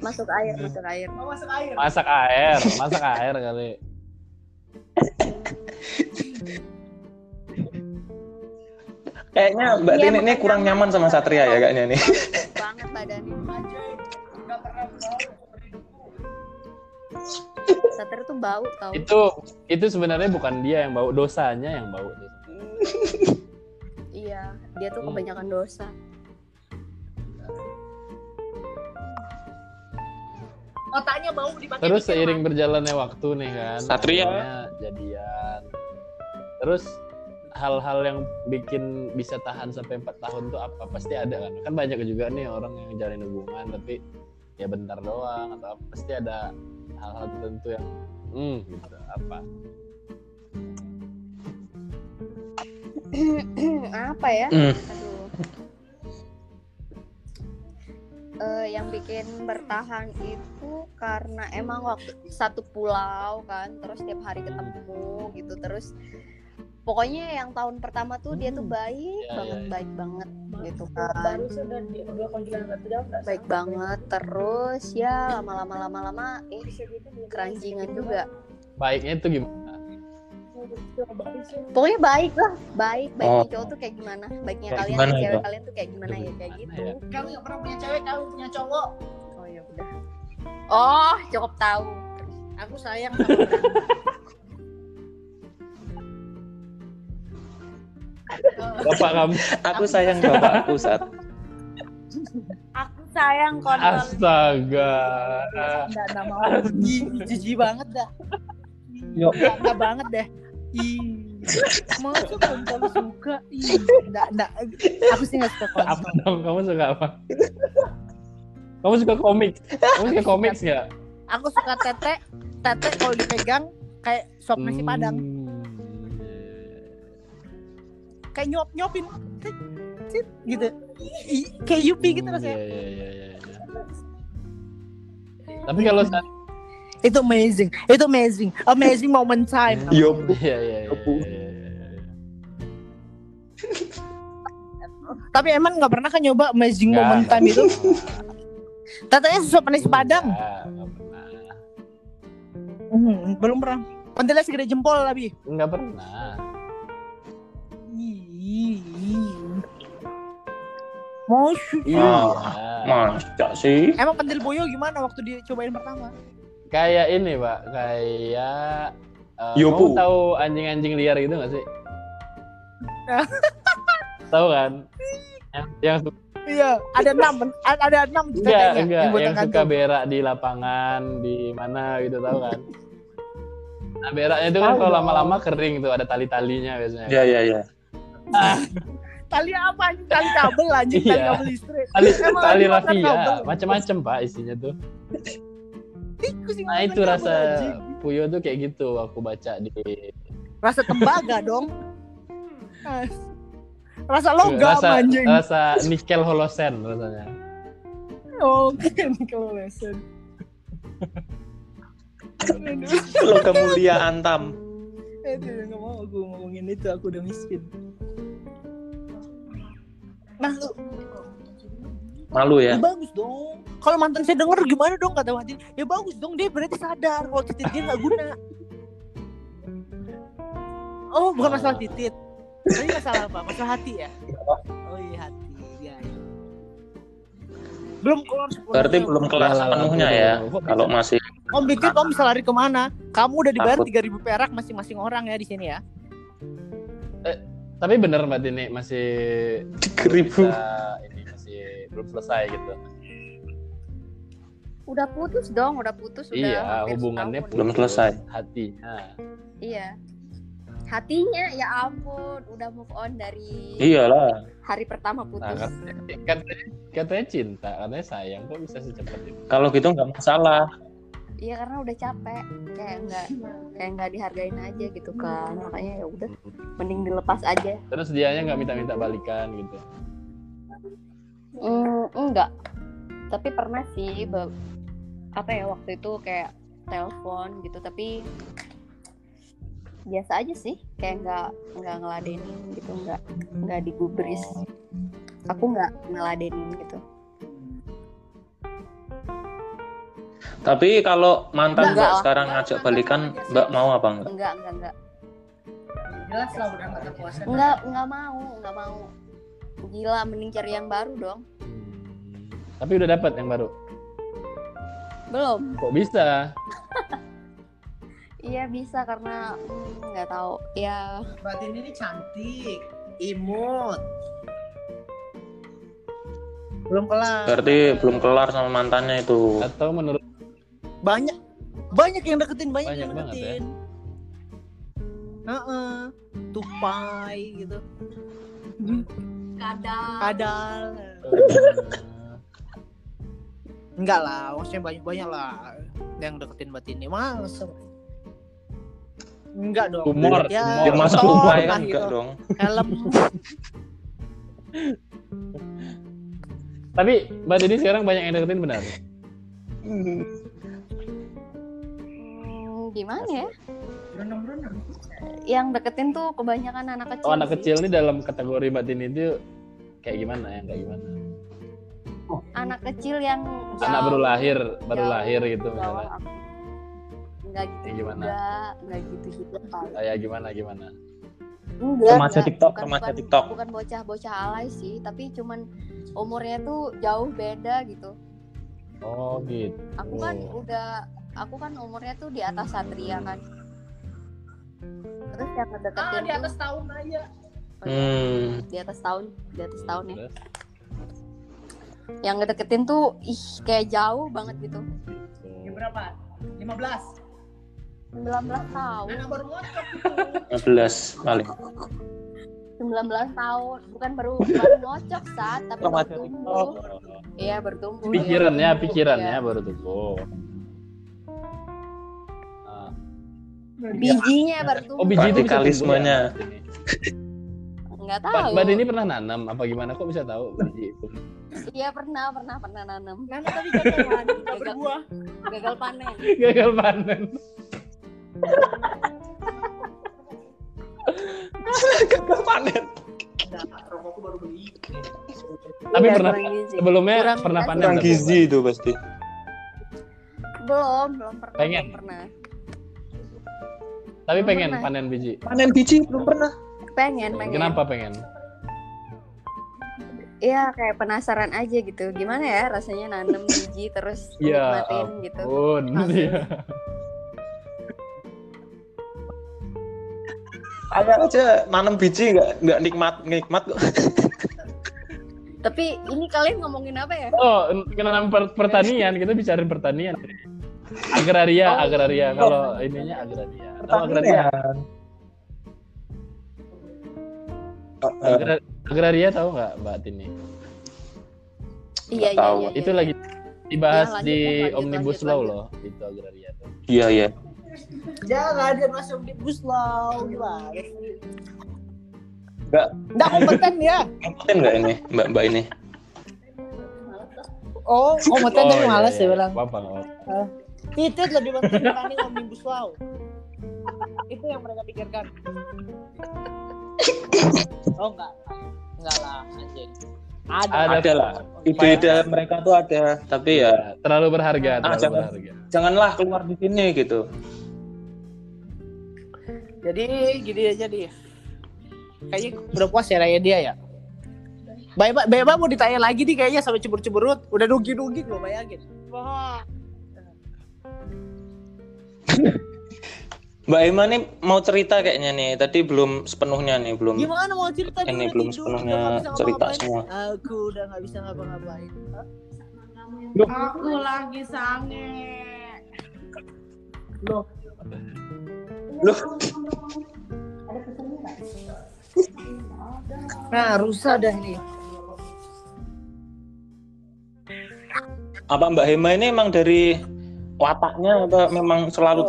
[SPEAKER 5] Masuk air,
[SPEAKER 3] Hmm.
[SPEAKER 5] masuk air.
[SPEAKER 1] Mau masuk air.
[SPEAKER 3] Masak air, masak air kali.
[SPEAKER 2] Kayaknya Mbak
[SPEAKER 5] Iya,
[SPEAKER 2] Tini ini
[SPEAKER 5] makanya
[SPEAKER 2] kurang nyaman sama Satria ya kayaknya nih.
[SPEAKER 5] Iya, Banget badannya.
[SPEAKER 1] Nggak pernah bau.
[SPEAKER 5] Sater tuh bau tau.
[SPEAKER 3] itu itu sebenarnya bukan dia yang bau dosanya yang bau
[SPEAKER 5] Iya, dia tuh
[SPEAKER 3] Hmm.
[SPEAKER 5] kebanyakan
[SPEAKER 1] (clears throat)
[SPEAKER 5] dosa
[SPEAKER 1] Otaknya bau dipakai
[SPEAKER 6] Iya,
[SPEAKER 3] Terus iya.
[SPEAKER 1] mikir,
[SPEAKER 3] seiring berjalannya waktu nih kan.
[SPEAKER 2] Satria.
[SPEAKER 3] akhirnya Jadian. Terus hal-hal yang bikin bisa tahan sampai 4 tahun tuh apa? Pasti ada kan. Kan banyak juga nih orang yang jalanin hubungan tapi ya bentar doang atau apa. pasti ada hal-hal tertentu yang hmm gitu apa.
[SPEAKER 5] apa ya
[SPEAKER 2] Hmm.
[SPEAKER 5] aduh Eh, yang bikin bertahan itu karena emang waktu satu pulau kan terus tiap hari ketemu gitu terus pokoknya yang tahun pertama tuh dia
[SPEAKER 2] Hmm.
[SPEAKER 5] tuh baik
[SPEAKER 3] Ya,
[SPEAKER 2] Iya,
[SPEAKER 3] ya,
[SPEAKER 5] banget
[SPEAKER 3] ya.
[SPEAKER 5] baik banget gitu kan
[SPEAKER 1] baru sudah di dua konjilan nggak terjawab nggak
[SPEAKER 5] baik
[SPEAKER 1] sanggup.
[SPEAKER 5] banget terus ya lama-lama lama-lama eh keranjingan juga
[SPEAKER 3] Baiknya itu gimana?
[SPEAKER 5] pokoknya baik lah baik baiknya
[SPEAKER 2] Oh.
[SPEAKER 5] cowok tuh kayak gimana baiknya
[SPEAKER 2] Kayak
[SPEAKER 5] kalian
[SPEAKER 2] gimana
[SPEAKER 5] tuh
[SPEAKER 2] ya,
[SPEAKER 5] cewek
[SPEAKER 2] Pak?
[SPEAKER 5] kalian tuh kayak gimana ya kayak
[SPEAKER 3] Gimana
[SPEAKER 5] gitu
[SPEAKER 3] ya?
[SPEAKER 1] Kamu nggak pernah punya cewek, kamu punya cowok.
[SPEAKER 5] oh ya udah oh cukup tahu
[SPEAKER 1] Aku sayang sama kamu.
[SPEAKER 3] Bapak kamu.
[SPEAKER 2] Aku sayang bapakku
[SPEAKER 5] (laughs)
[SPEAKER 2] saat
[SPEAKER 6] Aku sayang kontol.
[SPEAKER 3] Astaga.
[SPEAKER 1] Nggak nggak mau. Ih, Jijik banget dah.
[SPEAKER 2] Yo.
[SPEAKER 1] Nggak nggak banget deh. Ih, mau tuh kamu suka. Ih, nggak nggak. Aku sih nggak suka
[SPEAKER 3] Apa
[SPEAKER 1] konsol.
[SPEAKER 3] dong? Kamu suka apa? Kamu suka komik? Kamu suka komik nggak?
[SPEAKER 1] Aku suka tete. Tete kalau dipegang kayak sop nasi padang.
[SPEAKER 3] Hmm, iya, iya, iya.
[SPEAKER 1] Kayak nyop nyopin. Cit, cit, gitu. Ih, ih, Kayak Yupi gitu
[SPEAKER 3] Hmm,
[SPEAKER 1] rasanya.
[SPEAKER 3] Iya, iya, iya, iya, iya. Tapi kalau saat
[SPEAKER 1] Itu amazing. Itu amazing. Amazing moment time.
[SPEAKER 2] Yup.
[SPEAKER 3] (laughs) iya, iya, iya,
[SPEAKER 2] Aku.
[SPEAKER 3] iya, iya, iya.
[SPEAKER 1] Tapi emang nggak pernah kan nyoba amazing
[SPEAKER 3] Nggak,
[SPEAKER 1] moment time itu. Tatanya sop nasi
[SPEAKER 3] nggak
[SPEAKER 1] padang.
[SPEAKER 3] pernah. Nggak pernah.
[SPEAKER 1] Hmm, belum pernah. Pentilnya segede jempol tapi.
[SPEAKER 3] Nggak pernah.
[SPEAKER 1] Mau su-
[SPEAKER 3] Iya.
[SPEAKER 2] Masa sih?
[SPEAKER 1] Emang pentil boyo gimana waktu dicobain pertama?
[SPEAKER 3] Kayak ini, Pak. Kayak eh,
[SPEAKER 2] Yopu.
[SPEAKER 3] kamu tahu anjing-anjing liar gitu nggak sih?
[SPEAKER 1] Nah.
[SPEAKER 3] tahu kan?
[SPEAKER 1] (laughs)
[SPEAKER 3] Yang, yang suka,
[SPEAKER 1] Iya, ada enam, ada, ada enam
[SPEAKER 3] enggak,
[SPEAKER 1] tetenya
[SPEAKER 3] Iya, enggak.
[SPEAKER 1] buat
[SPEAKER 3] yang suka
[SPEAKER 1] kantung.
[SPEAKER 3] berak di lapangan, di mana gitu tahu kan? Nah, beraknya itu kan
[SPEAKER 1] Tahu
[SPEAKER 3] kalau
[SPEAKER 1] dong.
[SPEAKER 3] lama-lama kering tuh, ada tali-talinya biasanya.
[SPEAKER 2] Ya ya ya.
[SPEAKER 1] Tali apa anjing? Tali kabel anjing, tali
[SPEAKER 3] Iya.
[SPEAKER 1] kabel listrik.
[SPEAKER 3] tali
[SPEAKER 1] Emang
[SPEAKER 3] tali
[SPEAKER 1] anjing makan kabel?
[SPEAKER 3] rafia macam-macam pak isinya tuh
[SPEAKER 1] Tikus yang
[SPEAKER 3] nah
[SPEAKER 1] makan
[SPEAKER 3] itu
[SPEAKER 1] kabel,
[SPEAKER 3] rasa
[SPEAKER 1] anjing.
[SPEAKER 3] puyo tuh kayak gitu aku baca di
[SPEAKER 1] rasa
[SPEAKER 3] (laughs)
[SPEAKER 1] tembaga dong. rasa logam
[SPEAKER 3] rasa eh,
[SPEAKER 1] anjing.
[SPEAKER 3] rasa nikel holosen rasanya
[SPEAKER 1] Oke, nih kalau lesson. Aduh.
[SPEAKER 2] Kalau kemulia antam.
[SPEAKER 1] Eh, tidak nggak mau aku ngomongin itu, aku udah miskin. Nah, Malu,
[SPEAKER 2] Malu
[SPEAKER 1] ya
[SPEAKER 2] ya.
[SPEAKER 1] bagus dong. Kalau mantan saya denger gimana dong kata Wadin? Ya bagus dong, dia berarti sadar kalau titit dia nggak guna. Oh, bukan
[SPEAKER 2] Ah.
[SPEAKER 1] masalah titit. Tadi masalah apa? Masalah hati ya? Oh iya hati. Ya, ya. Belum keluar sepenuhnya.
[SPEAKER 2] Berarti
[SPEAKER 5] Iya.
[SPEAKER 2] belum kelas
[SPEAKER 3] Lala,
[SPEAKER 2] sepenuhnya
[SPEAKER 3] lala,
[SPEAKER 2] ya.
[SPEAKER 3] lala.
[SPEAKER 2] Kalau masih
[SPEAKER 1] Om Dikit, om bisa lari kemana? Kamu udah dibayar
[SPEAKER 2] Takut.
[SPEAKER 1] 3000 perak masing-masing orang ya di sini ya.
[SPEAKER 3] tapi bener mbak Tini masih
[SPEAKER 2] keribu.
[SPEAKER 3] bisa ini masih belum selesai gitu
[SPEAKER 5] udah putus dong udah putus udah
[SPEAKER 3] iya
[SPEAKER 5] hampir
[SPEAKER 3] hubungannya
[SPEAKER 5] setahun.
[SPEAKER 2] pun. Belum selesai.
[SPEAKER 3] hatinya
[SPEAKER 5] iya hatinya ya ampun udah move on dari
[SPEAKER 2] Iyalah.
[SPEAKER 5] hari pertama
[SPEAKER 3] Iya. nah
[SPEAKER 5] putus
[SPEAKER 3] katanya, katanya, katanya cinta katanya sayang kok bisa secepat itu
[SPEAKER 2] Kalau gitu nggak masalah.
[SPEAKER 5] iya karena udah capek kayak nggak kayak nggak dihargain aja gitu kan makanya ya udah mending dilepas aja
[SPEAKER 3] terus dianya nggak minta-minta balikan gitu
[SPEAKER 5] Mm, enggak. Tapi pernah sih be- apa ya waktu itu kayak telepon gitu tapi biasa aja sih kayak nggak nggak ngeladenin gitu nggak nggak digubris aku nggak ngeladenin gitu
[SPEAKER 2] Tapi kalau mantan
[SPEAKER 5] Enggak
[SPEAKER 2] Mbak
[SPEAKER 5] lah.
[SPEAKER 2] sekarang ngajak balikan, Mbak mau apa enggak?
[SPEAKER 5] nggak nggak nggak
[SPEAKER 1] Jelas lah udah nggak kekuasaan.
[SPEAKER 5] nggak nggak mau nggak mau gila mending cari yang baru dong
[SPEAKER 3] Hmm. tapi udah dapat yang baru
[SPEAKER 5] belum
[SPEAKER 3] kok bisa
[SPEAKER 5] iya bisa karena hmm, nggak tahu ya
[SPEAKER 1] Batin ini cantik, imut, belum kelar
[SPEAKER 2] Berarti belum kelar sama mantannya itu.
[SPEAKER 3] Atau menurut
[SPEAKER 1] banyak banyak yang deketin banyak,
[SPEAKER 3] Banyak
[SPEAKER 1] yang
[SPEAKER 3] banget ya.
[SPEAKER 1] deketin Heeh. tupai gitu
[SPEAKER 5] kadang
[SPEAKER 1] kadal enggak lah maksudnya banyak banyak lah yang deketin batin ini mas enggak dong
[SPEAKER 3] Humor,
[SPEAKER 1] ya,
[SPEAKER 3] humor.
[SPEAKER 2] Ya masa
[SPEAKER 1] kotor
[SPEAKER 2] lupa ya
[SPEAKER 1] lah
[SPEAKER 2] kan enggak
[SPEAKER 1] gitu.
[SPEAKER 2] dong.
[SPEAKER 1] (laughs) helm
[SPEAKER 3] Tapi Mbak Didi sekarang banyak yang deketin benar.
[SPEAKER 5] Hmm, gimana ya yang deketin tuh kebanyakan anak kecil
[SPEAKER 3] Oh anak
[SPEAKER 5] sih.
[SPEAKER 3] kecil ini dalam kategori Mbak Dini itu kayak gimana yang kayak gimana?
[SPEAKER 5] anak kecil yang
[SPEAKER 3] Anak
[SPEAKER 5] jauh-
[SPEAKER 3] baru lahir, baru
[SPEAKER 5] jauh
[SPEAKER 3] lahir gitu
[SPEAKER 5] di bawah
[SPEAKER 3] misalnya.
[SPEAKER 5] aku. Enggak gitu
[SPEAKER 3] Yang gimana?
[SPEAKER 5] juga, enggak gitu juga. Pak.
[SPEAKER 3] Kayak gimana gimana?
[SPEAKER 5] Enggak,
[SPEAKER 2] Remaja
[SPEAKER 5] enggak.
[SPEAKER 2] TikTok,
[SPEAKER 5] Bukan-
[SPEAKER 2] remaja
[SPEAKER 5] bukan-
[SPEAKER 2] TikTok.
[SPEAKER 5] Bukan bocah-bocah alay sih, tapi cuman umurnya tuh jauh beda gitu.
[SPEAKER 3] Oh gitu.
[SPEAKER 5] Aku kan
[SPEAKER 3] Oh.
[SPEAKER 5] udah aku kan umurnya tuh di atas Satria kan. Terus yang ngedeketin
[SPEAKER 6] Ah, di
[SPEAKER 5] tuh-
[SPEAKER 6] atas tahun aja.
[SPEAKER 5] oh, iya,
[SPEAKER 2] Hmm.
[SPEAKER 5] di atas tahun, di atas tahun ya.
[SPEAKER 3] Terus?
[SPEAKER 5] Yang ngedeketin tuh ih kayak jauh banget gitu.
[SPEAKER 3] oh.
[SPEAKER 1] Ya, berapa 15
[SPEAKER 5] 19
[SPEAKER 6] Nah,
[SPEAKER 5] tahun,
[SPEAKER 1] anak baru
[SPEAKER 6] kan
[SPEAKER 1] ngocok
[SPEAKER 6] gitu.
[SPEAKER 2] 15 paling.
[SPEAKER 5] 19 tahun, bukan baru baru ngocok saat tapi baru
[SPEAKER 2] Remaja
[SPEAKER 5] tumbuh.
[SPEAKER 3] Oh.
[SPEAKER 5] Iya bertumbuh. dia
[SPEAKER 3] Pikirannya,
[SPEAKER 5] bertumbuh,
[SPEAKER 3] pikirannya
[SPEAKER 5] iya.
[SPEAKER 3] baru tumbuh. Ah.
[SPEAKER 5] Bijinya bertumbuh.
[SPEAKER 3] Oh biji itu bisa tumbuh
[SPEAKER 2] Radikalismenya.
[SPEAKER 3] ya, Mbak Dini?
[SPEAKER 5] Nggak
[SPEAKER 3] Mbak
[SPEAKER 5] tahu.
[SPEAKER 3] Mbak Dini pernah nanam apa gimana? Kok bisa tahu biji itu? (laughs)
[SPEAKER 5] Iya pernah pernah pernah nanam.
[SPEAKER 4] Nanti tadi jalan,
[SPEAKER 5] (laughs)
[SPEAKER 4] nggak berbuah.
[SPEAKER 5] Gagal panen.
[SPEAKER 3] Gagal panen.
[SPEAKER 2] Gagal panen.
[SPEAKER 1] rokokku baru beli
[SPEAKER 3] Tapi
[SPEAKER 5] Iya,
[SPEAKER 3] pernah
[SPEAKER 5] kurang gizi.
[SPEAKER 3] sebelumnya
[SPEAKER 5] Kurang
[SPEAKER 3] pernah
[SPEAKER 5] gizi.
[SPEAKER 3] panen.
[SPEAKER 2] Kurang
[SPEAKER 3] tapi, Mbak?
[SPEAKER 2] gizi itu pasti.
[SPEAKER 5] Belum belum pernah.
[SPEAKER 3] Pengen.
[SPEAKER 5] belum pernah.
[SPEAKER 3] Tapi
[SPEAKER 5] Belum
[SPEAKER 3] pengen
[SPEAKER 5] pernah.
[SPEAKER 3] panen biji.
[SPEAKER 2] Panen biji belum pernah.
[SPEAKER 5] Pengen pengen.
[SPEAKER 3] Kenapa pengen?
[SPEAKER 5] Iya kayak penasaran aja gitu. Gimana ya rasanya nanam biji terus
[SPEAKER 3] Ya
[SPEAKER 5] nikmatin gitu.
[SPEAKER 3] ampun.
[SPEAKER 5] Langsung.
[SPEAKER 3] Iya.
[SPEAKER 2] Ada aja nanam biji enggak enggak nikmat nikmat kok.
[SPEAKER 5] Tapi ini kalian ngomongin apa ya?
[SPEAKER 3] Oh, kenangan per- pertanian, kita bicarain pertanian. Agraria,
[SPEAKER 5] Oh.
[SPEAKER 3] agraria. Kalau ininya agraria. Tahu agraria?
[SPEAKER 2] Pertanian. Eh, eh,
[SPEAKER 3] Agra- agraria tahu nggak Mbak Tini?
[SPEAKER 5] Iya iya
[SPEAKER 2] tahu.
[SPEAKER 5] iya.
[SPEAKER 3] Itu lagi dibahas
[SPEAKER 5] Ya, lanjut,
[SPEAKER 3] di
[SPEAKER 5] lanjut,
[SPEAKER 3] Omnibus
[SPEAKER 5] lanjut,
[SPEAKER 3] Law
[SPEAKER 5] lanjut.
[SPEAKER 3] loh, itu agraria tuh.
[SPEAKER 2] Iya iya.
[SPEAKER 1] (laughs) jangan dia masuk di bus lah gimana sih?
[SPEAKER 2] Enggak.
[SPEAKER 1] nggak kompeten ya
[SPEAKER 2] Kompeten enggak ini Mbak-mbak ini?
[SPEAKER 1] oh kompeten tapi
[SPEAKER 3] iya,
[SPEAKER 1] malas
[SPEAKER 3] iya.
[SPEAKER 1] ya bilang
[SPEAKER 3] Apa-apa, nggak apa-apa.
[SPEAKER 1] itu lebih penting dibanding omnibus law itu yang mereka pikirkan oh enggak enggak lah anjing ada
[SPEAKER 3] Ada.
[SPEAKER 2] Ada lah. Ide-ide mereka tuh ada, tapi ya
[SPEAKER 3] Terlalu berharga, terlalu
[SPEAKER 2] jangan.
[SPEAKER 3] berharga.
[SPEAKER 2] janganlah keluar di sini gitu.
[SPEAKER 1] jadi gini aja dia kayaknya udah puas ya raya dia ya Beba, Beba mau ditanya lagi nih kayaknya sama cebur-ceburut Udah dugi-dugi gue bayangin
[SPEAKER 6] Wah,
[SPEAKER 2] Mbak Ima nih mau cerita kayaknya nih. Tadi belum sepenuhnya nih, belum.
[SPEAKER 1] Gimana mau cerita dia
[SPEAKER 2] Ini
[SPEAKER 1] udah
[SPEAKER 2] belum
[SPEAKER 1] tidur,
[SPEAKER 2] sepenuhnya
[SPEAKER 1] udah nggak bisa
[SPEAKER 2] cerita
[SPEAKER 1] ngapa-ngapain.
[SPEAKER 2] semua.
[SPEAKER 1] Aku udah gak bisa ngapa-ngapain Hah?
[SPEAKER 6] aku lagi sange.
[SPEAKER 1] Loh
[SPEAKER 2] Loh,
[SPEAKER 1] Nah rusak dah nih
[SPEAKER 2] apa Mbak Hema ini emang dari wataknya apa memang
[SPEAKER 1] Oh,
[SPEAKER 2] selalu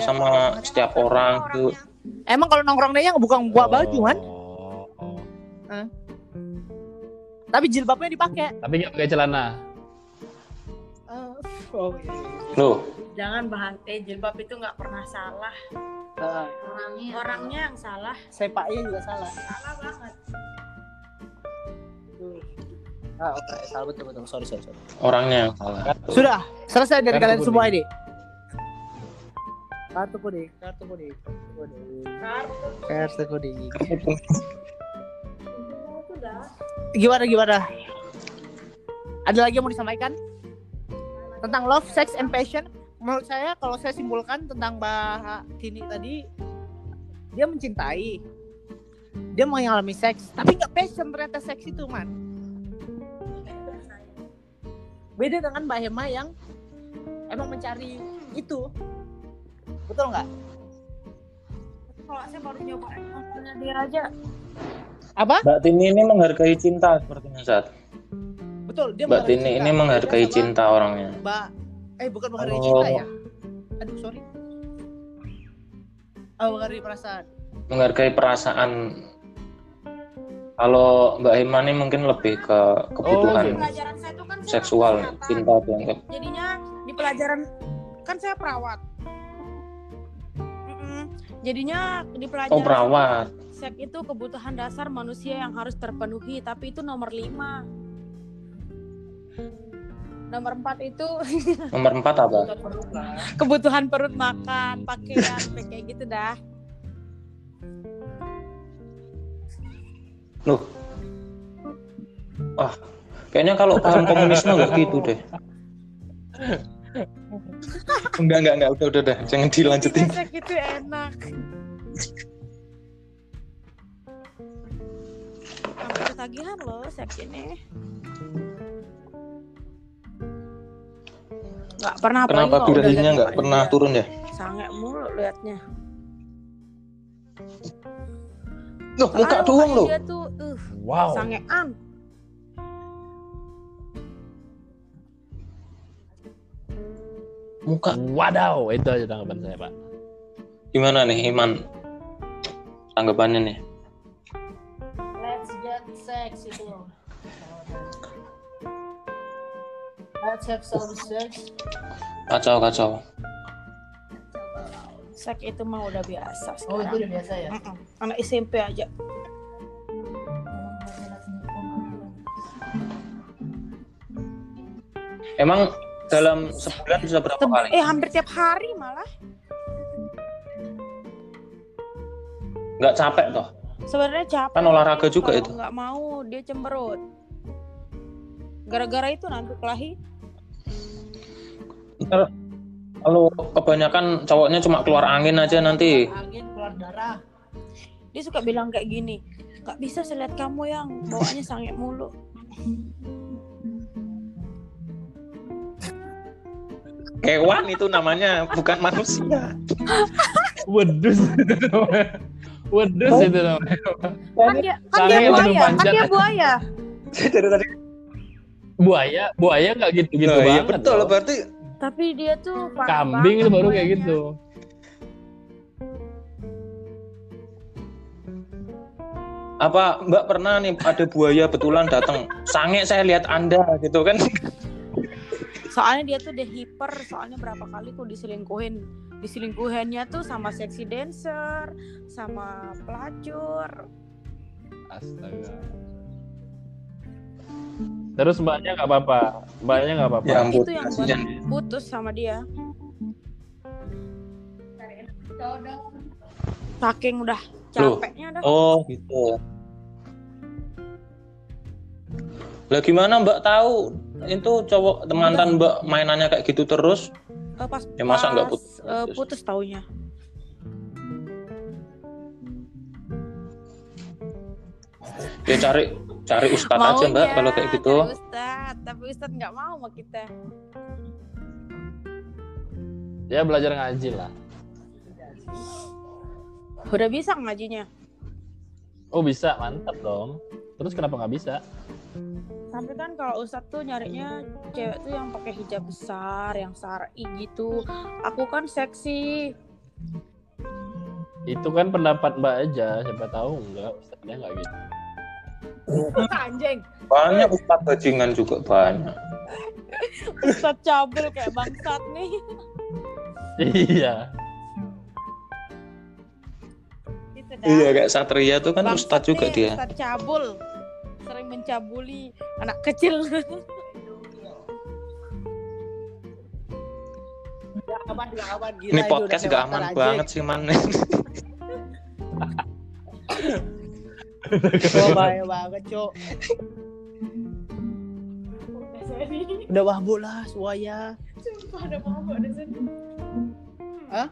[SPEAKER 1] parah.
[SPEAKER 2] sama setiap orang gitu? tuh?
[SPEAKER 1] Emang kalau nongkrong dia bukan buka baju kan?
[SPEAKER 3] Oh, oh.
[SPEAKER 1] Tapi jilbabnya dipakai.
[SPEAKER 3] Tapi nggak pakai celana.
[SPEAKER 1] Oh,
[SPEAKER 2] Loh,
[SPEAKER 6] Jangan bahan eh jilbab itu nggak pernah salah.
[SPEAKER 1] Eh, Iya.
[SPEAKER 5] Orangnya.
[SPEAKER 6] Orangnya yang salah.
[SPEAKER 1] sepaknya juga salah.
[SPEAKER 6] Salah banget.
[SPEAKER 1] Ah, oke, salah betul betul. Sorry, sorry, sorry.
[SPEAKER 2] orangnya yang salah.
[SPEAKER 1] Sudah, selesai dari
[SPEAKER 3] Kartu
[SPEAKER 1] kalian
[SPEAKER 3] kuning.
[SPEAKER 1] semua ini. Kartu kuning, kartu kuning, kartu kuning, kartu kuning. Gimana gimana? Ada lagi yang mau disampaikan tentang love, sex, and passion? Menurut saya kalau saya simpulkan tentang Mbak Tini tadi, dia mencintai, dia mengalami seks, tapi nggak passion ternyata seks itu man. Beda dengan Mbak Hema yang emang mencari itu. Betul nggak?
[SPEAKER 6] Kalau saya baru nyoba aja dia aja.
[SPEAKER 1] Apa?
[SPEAKER 2] Mbak Tini ini menghargai cinta sepertinya saat.
[SPEAKER 1] Betul, dia
[SPEAKER 2] Mbak
[SPEAKER 1] menghargai
[SPEAKER 2] Tini ini
[SPEAKER 1] cinta.
[SPEAKER 2] menghargai
[SPEAKER 1] Beda sama
[SPEAKER 2] cinta orangnya.
[SPEAKER 1] Mbak eh bukan menghargai
[SPEAKER 2] Oh.
[SPEAKER 1] cinta ya. Aduh, sorry. Oh, menghargai perasaan.
[SPEAKER 2] menghargai perasaan kalau Mbak Hema ini mungkin lebih ke
[SPEAKER 3] Oh,
[SPEAKER 2] kebutuhan
[SPEAKER 3] gitu.
[SPEAKER 6] Pelajaran saya itu kan saya
[SPEAKER 2] seksual
[SPEAKER 6] ngambil kesehatan.
[SPEAKER 2] cinta dianggap
[SPEAKER 6] jadinya di pelajaran kan saya perawat Mm-mm. jadinya di pelajaran
[SPEAKER 2] oh perawat
[SPEAKER 6] seks itu kebutuhan dasar manusia yang harus terpenuhi tapi itu nomor lima nomor empat itu (laughs)
[SPEAKER 2] nomor empat apa
[SPEAKER 6] kebutuhan perut makan pakaian kayak gitu dah
[SPEAKER 2] loh ah kayaknya kalau paham komunisme nggak gitu deh enggak enggak enggak udah udah udah jangan dilanjutin
[SPEAKER 6] seks itu Iya, gitu enak hampir ketagihan loh seks ini nggak pernah apalagi
[SPEAKER 2] kenapa
[SPEAKER 6] kalau udah
[SPEAKER 2] durasinya
[SPEAKER 6] lihat
[SPEAKER 2] nggak
[SPEAKER 6] mukanya
[SPEAKER 2] pernah
[SPEAKER 6] dia.
[SPEAKER 2] turun ya
[SPEAKER 6] sange mulu liatnya Ah,
[SPEAKER 2] loh muka
[SPEAKER 6] Soalnya
[SPEAKER 2] doang
[SPEAKER 6] mukanya
[SPEAKER 2] loh
[SPEAKER 6] dia tuh uh,
[SPEAKER 1] Oh.
[SPEAKER 3] Wow.
[SPEAKER 6] sangean
[SPEAKER 2] muka
[SPEAKER 3] Wadaw, itu aja tanggapan saya, Pak.
[SPEAKER 2] gimana nih Iman tanggapannya nih
[SPEAKER 1] Let's get sex itu. Let's have some sex.
[SPEAKER 2] kacau kacau
[SPEAKER 6] seks itu mah udah biasa
[SPEAKER 1] Oh,
[SPEAKER 6] sekarang.
[SPEAKER 1] itu udah biasa ya.
[SPEAKER 6] Mm-mm. anak SMP aja
[SPEAKER 2] emang dalam sebulan bisa berapa
[SPEAKER 6] Tem-
[SPEAKER 2] kali
[SPEAKER 6] eh hampir tiap hari malah
[SPEAKER 2] nggak capek toh
[SPEAKER 6] sebenarnya capek
[SPEAKER 2] Kan olahraga juga
[SPEAKER 6] Kalau
[SPEAKER 2] itu.
[SPEAKER 6] nggak mau dia cemberut gara-gara itu nanti kelahi
[SPEAKER 2] Ntar kalau kebanyakan cowoknya cuma keluar angin aja nanti.
[SPEAKER 1] Angin keluar darah.
[SPEAKER 6] dia suka bilang kayak gini nggak bisa saya lihat kamu yang bawaannya sange mulu
[SPEAKER 2] Hewan itu namanya bukan manusia.
[SPEAKER 3] Wedus itu namanya. Wedus itu namanya.
[SPEAKER 6] kan dia kan
[SPEAKER 3] Sange
[SPEAKER 6] dia
[SPEAKER 3] yang
[SPEAKER 6] buaya
[SPEAKER 3] hidung
[SPEAKER 6] kan
[SPEAKER 3] panjang.
[SPEAKER 6] dia buaya
[SPEAKER 2] Dari tadi
[SPEAKER 3] Buaya, buaya nggak gitu-gitu
[SPEAKER 2] Loh, iya
[SPEAKER 3] gitu banget.
[SPEAKER 2] betul
[SPEAKER 3] loh.
[SPEAKER 2] berarti
[SPEAKER 6] tapi dia tuh parah
[SPEAKER 3] Kambing
[SPEAKER 6] banget
[SPEAKER 3] itu baru kayak
[SPEAKER 6] buayanya.
[SPEAKER 3] gitu.
[SPEAKER 2] apa Mbak pernah nih ada buaya betulan datang. Sange saya lihat Anda gitu
[SPEAKER 6] (laughs)
[SPEAKER 2] kan.
[SPEAKER 6] soalnya dia tuh udah hiper soalnya berapa kali aku diselingkuhin diselingkuhannya tuh sama seksi dancer sama pelacur
[SPEAKER 3] Astaga. Terus mbaknya nggak apa-apa. Mbaknya nggak apa-apa.
[SPEAKER 2] Ya ampun.
[SPEAKER 6] Itu yang buat-
[SPEAKER 2] kasihan.
[SPEAKER 6] putus sama dia saking udah
[SPEAKER 2] Loh.
[SPEAKER 6] capeknya dah
[SPEAKER 2] Oh, gitu. Lah gimana Mbak tahu itu cowok mantan Mbak mainannya kayak gitu terus?
[SPEAKER 6] Eh, pas
[SPEAKER 2] Ya, masa nggak
[SPEAKER 6] pas,
[SPEAKER 2] putus?
[SPEAKER 6] eh, putus taunya
[SPEAKER 2] Ya cari cari ustadz aja
[SPEAKER 6] ya.
[SPEAKER 2] Mbak kalau kayak gitu.
[SPEAKER 6] dari Ustadz, tapi Ustadz nggak mau sama kita
[SPEAKER 3] Ya belajar ngaji lah.
[SPEAKER 6] udah bisa ngajinya
[SPEAKER 3] Oh bisa, mantap dong. Terus kenapa nggak bisa?
[SPEAKER 6] tapi kan kalau Ustadz tuh nyarinya cewek tuh yang pakai hijab besar yang sari gitu aku kan seksi
[SPEAKER 3] Itu kan pendapat mbak aja. Siapa tahu nggak ustaznya nggak gitu. (laughs)
[SPEAKER 1] Anjing.
[SPEAKER 2] Banyak ustadz bajingan juga banyak.
[SPEAKER 6] Ustadz cabul kayak bangsat nih
[SPEAKER 3] Iya.
[SPEAKER 6] gitu dah.
[SPEAKER 2] Iya kayak Satria tuh kan
[SPEAKER 6] Bangsat
[SPEAKER 2] ustadz juga
[SPEAKER 6] nih,
[SPEAKER 2] dia.
[SPEAKER 6] Ustadz cabul sering mencabuli anak kecil (laughs)
[SPEAKER 1] Gak aman, gak aman. Gila,
[SPEAKER 2] Ini
[SPEAKER 1] itu
[SPEAKER 2] podcast
[SPEAKER 1] udah
[SPEAKER 2] gak
[SPEAKER 1] kelewatan,
[SPEAKER 2] aman
[SPEAKER 1] anjing.
[SPEAKER 2] banget sih man.
[SPEAKER 1] Wah, bahaya banget, Cok. Udah mabuk lah, suaya. Hah?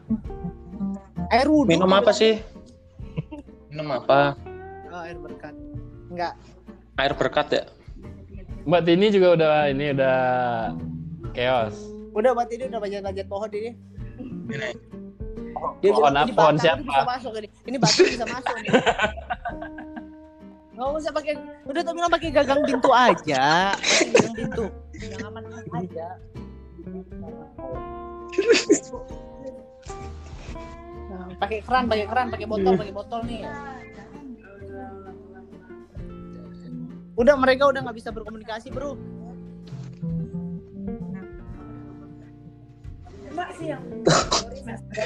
[SPEAKER 1] Air wudhu.
[SPEAKER 2] (laughs) Minum apa sih? Minum apa?
[SPEAKER 1] Ah, Oh, air berkat. Enggak.
[SPEAKER 2] Air berkat ya.
[SPEAKER 3] Mbak Tini juga udah ini udah chaos.
[SPEAKER 1] Udah berarti ini udah manjat-manjat pohon ini. Oh,
[SPEAKER 3] Pohon
[SPEAKER 1] bilang, "Ini
[SPEAKER 3] pohon
[SPEAKER 1] batang ini
[SPEAKER 3] siapa?
[SPEAKER 1] Bisa masuk ini. Ini batang bisa masuk. nih." Nggak usah pakai, udah tuh bilang pakai gagang pintu aja. Pakai Gagang pintu. Yang aman aja. Nah, pakai keran, pakai keran, pakai botol, pakai botol nih. Udah mereka udah nggak bisa berkomunikasi bro.
[SPEAKER 2] (laughs)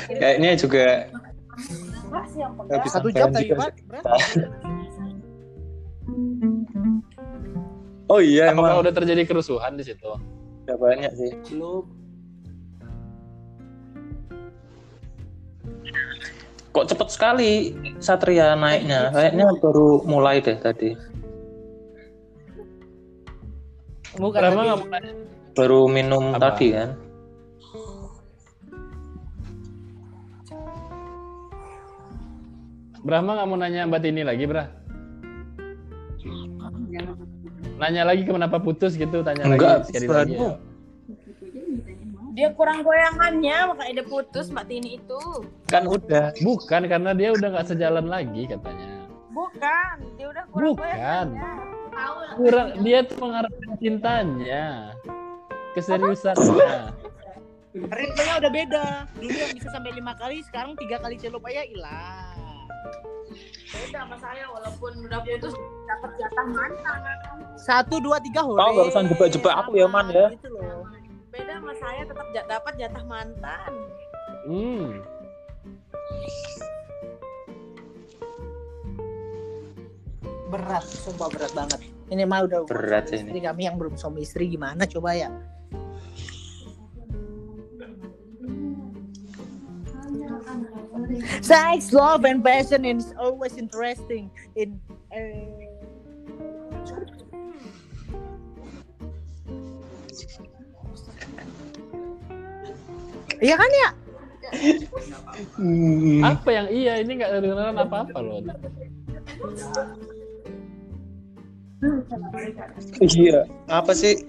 [SPEAKER 2] Kayaknya juga nggak bisa
[SPEAKER 1] Satu jam tadi
[SPEAKER 2] sampean juga
[SPEAKER 1] Pak.
[SPEAKER 2] sih.
[SPEAKER 1] Berapa?
[SPEAKER 2] Oh iya
[SPEAKER 3] Apakah
[SPEAKER 2] emang
[SPEAKER 3] udah terjadi kerusuhan di situ?
[SPEAKER 2] udah banyak sih.
[SPEAKER 1] Belum.
[SPEAKER 2] Kok cepet sekali Satria
[SPEAKER 1] Eh,
[SPEAKER 2] naiknya? Kayaknya baru mulai deh tadi.
[SPEAKER 1] Bukan
[SPEAKER 3] Kenapa
[SPEAKER 1] tapi-
[SPEAKER 3] nggak mau nanya?
[SPEAKER 2] Baru minum
[SPEAKER 3] Apa?
[SPEAKER 2] tadi kan?
[SPEAKER 3] Brahma nggak mau nanya Mbak Tini lagi, Brah? Nanya lagi kenapa putus gitu? Tanya
[SPEAKER 2] Enggak,
[SPEAKER 3] lagi sekali
[SPEAKER 2] baru.
[SPEAKER 3] lagi. ya.
[SPEAKER 6] Dia kurang goyangannya makanya dia putus Mbak Tini itu.
[SPEAKER 2] Kan udah.
[SPEAKER 3] Bukan karena dia udah nggak sejalan lagi katanya.
[SPEAKER 6] Bukan, dia udah kurang
[SPEAKER 3] Bukan.
[SPEAKER 6] goyangannya.
[SPEAKER 3] Kurang dia tuh mengharapkan cintanya, keseriusannya.
[SPEAKER 1] Ritmenya udah beda. Dulu yang bisa sampai lima kali, sekarang tiga kali celup aja hilang.
[SPEAKER 6] Beda sama saya walaupun udah putus dapat jatah mantan.
[SPEAKER 1] Satu, dua, tiga, hore.
[SPEAKER 2] Kau nggak usah jebak-jebak aku ya, Man, ya.
[SPEAKER 1] Gitu loh.
[SPEAKER 6] Beda sama saya tetap ja- dapat jatah mantan.
[SPEAKER 3] Hmm.
[SPEAKER 1] Berat, sumpah berat banget. Ini mah udah
[SPEAKER 2] Berat sih
[SPEAKER 3] Iya
[SPEAKER 2] ini.
[SPEAKER 1] istri kami yang belum suami istri gimana coba ya? Sex, love, and passion is always interesting. In eh, Iya kan ya?
[SPEAKER 2] Hmm.
[SPEAKER 3] Apa yang iya ini nggak kedengeran apa-apa loh.
[SPEAKER 2] Iya. Apa sih?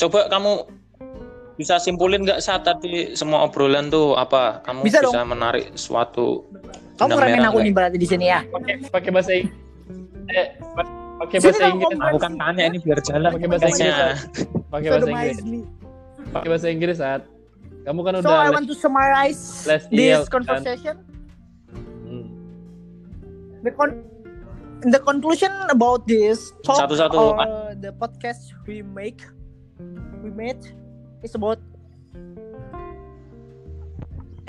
[SPEAKER 2] Coba kamu bisa simpulin nggak saat tadi semua obrolan tuh apa? Kamu
[SPEAKER 1] Bisa
[SPEAKER 2] bisa,
[SPEAKER 1] dong.
[SPEAKER 2] menarik suatu gitu.
[SPEAKER 1] Kamu
[SPEAKER 2] benang
[SPEAKER 1] remen
[SPEAKER 2] merah
[SPEAKER 1] aku
[SPEAKER 2] nggak?
[SPEAKER 1] nih berarti di sini ya.
[SPEAKER 3] Pakai pakai bahasa Inggris. Eh, pa- pakai
[SPEAKER 1] Sini
[SPEAKER 3] bahasa
[SPEAKER 1] dong,
[SPEAKER 3] Inggris.
[SPEAKER 1] kompres.
[SPEAKER 2] Aku kan tanya ini biar jalan
[SPEAKER 3] Pakai bahasa Inggris.
[SPEAKER 2] podcastnya.
[SPEAKER 3] Pakai bahasa Inggris.
[SPEAKER 1] Sodomize me.
[SPEAKER 3] Pakai bahasa Inggris saat. Kamu kan
[SPEAKER 1] So I
[SPEAKER 3] udah.
[SPEAKER 1] want to summarize
[SPEAKER 3] let's
[SPEAKER 1] this
[SPEAKER 3] yield, kan?
[SPEAKER 1] conversation.
[SPEAKER 3] Hmm.
[SPEAKER 1] The con- the conclusion about this talk
[SPEAKER 2] Satu-satu.
[SPEAKER 1] or the podcast we make we made is about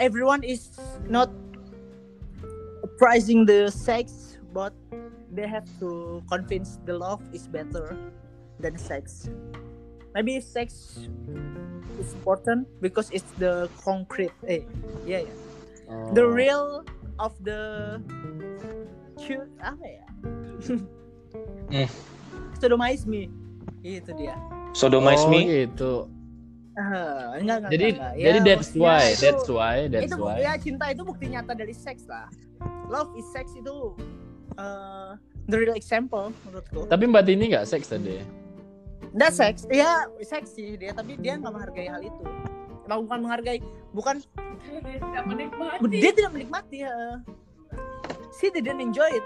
[SPEAKER 1] everyone is not prizing the sex but they have to convince the love is better than sex maybe sex is important because it's the concrete eh yeah yeah the
[SPEAKER 3] Oh.
[SPEAKER 1] real of the cu- apa
[SPEAKER 3] (laughs)
[SPEAKER 1] ya
[SPEAKER 3] Eh.
[SPEAKER 2] Hmm.
[SPEAKER 1] sodomize me itu dia
[SPEAKER 2] Sodomize
[SPEAKER 3] Oh,
[SPEAKER 2] me.
[SPEAKER 3] gitu.
[SPEAKER 1] Ah, enggak, enggak,
[SPEAKER 3] Jadi
[SPEAKER 1] enggak, enggak.
[SPEAKER 3] jadi
[SPEAKER 1] Ya,
[SPEAKER 3] that's
[SPEAKER 1] maksudnya
[SPEAKER 3] why,
[SPEAKER 1] itu-
[SPEAKER 3] that's why, that's
[SPEAKER 1] itu bu-
[SPEAKER 3] why.
[SPEAKER 1] ya cinta itu bukti nyata dari seks lah love is sex itu eh, the real example menurutku
[SPEAKER 3] Tapi Mbak Tini nggak seks tadi.
[SPEAKER 1] Nggak
[SPEAKER 3] Hmm.
[SPEAKER 1] seks, ya seks sih dia, tapi dia nggak menghargai hal itu. Emang bukan menghargai, bukan dia tidak menikmati. ya. She didn't enjoy it.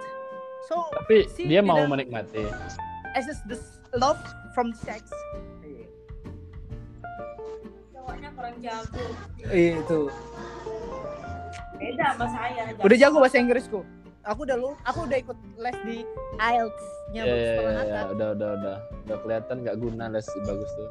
[SPEAKER 1] So
[SPEAKER 3] Tapi
[SPEAKER 1] Si
[SPEAKER 3] dia mau
[SPEAKER 1] tidak-
[SPEAKER 3] menikmati.
[SPEAKER 1] access the s- love from sex.
[SPEAKER 6] Cowoknya kurang jago.
[SPEAKER 1] Iya, Itu.
[SPEAKER 6] Beda sama saya.
[SPEAKER 1] Udah jago bahasa Inggrisku. Aku udah lu, aku udah ikut les di IELTS-nya
[SPEAKER 3] Ya,
[SPEAKER 1] baru
[SPEAKER 3] ya,
[SPEAKER 1] setengah
[SPEAKER 3] ya, ya,
[SPEAKER 1] atas.
[SPEAKER 3] udah, udah, udah, udah kelihatan nggak guna les bagus tuh.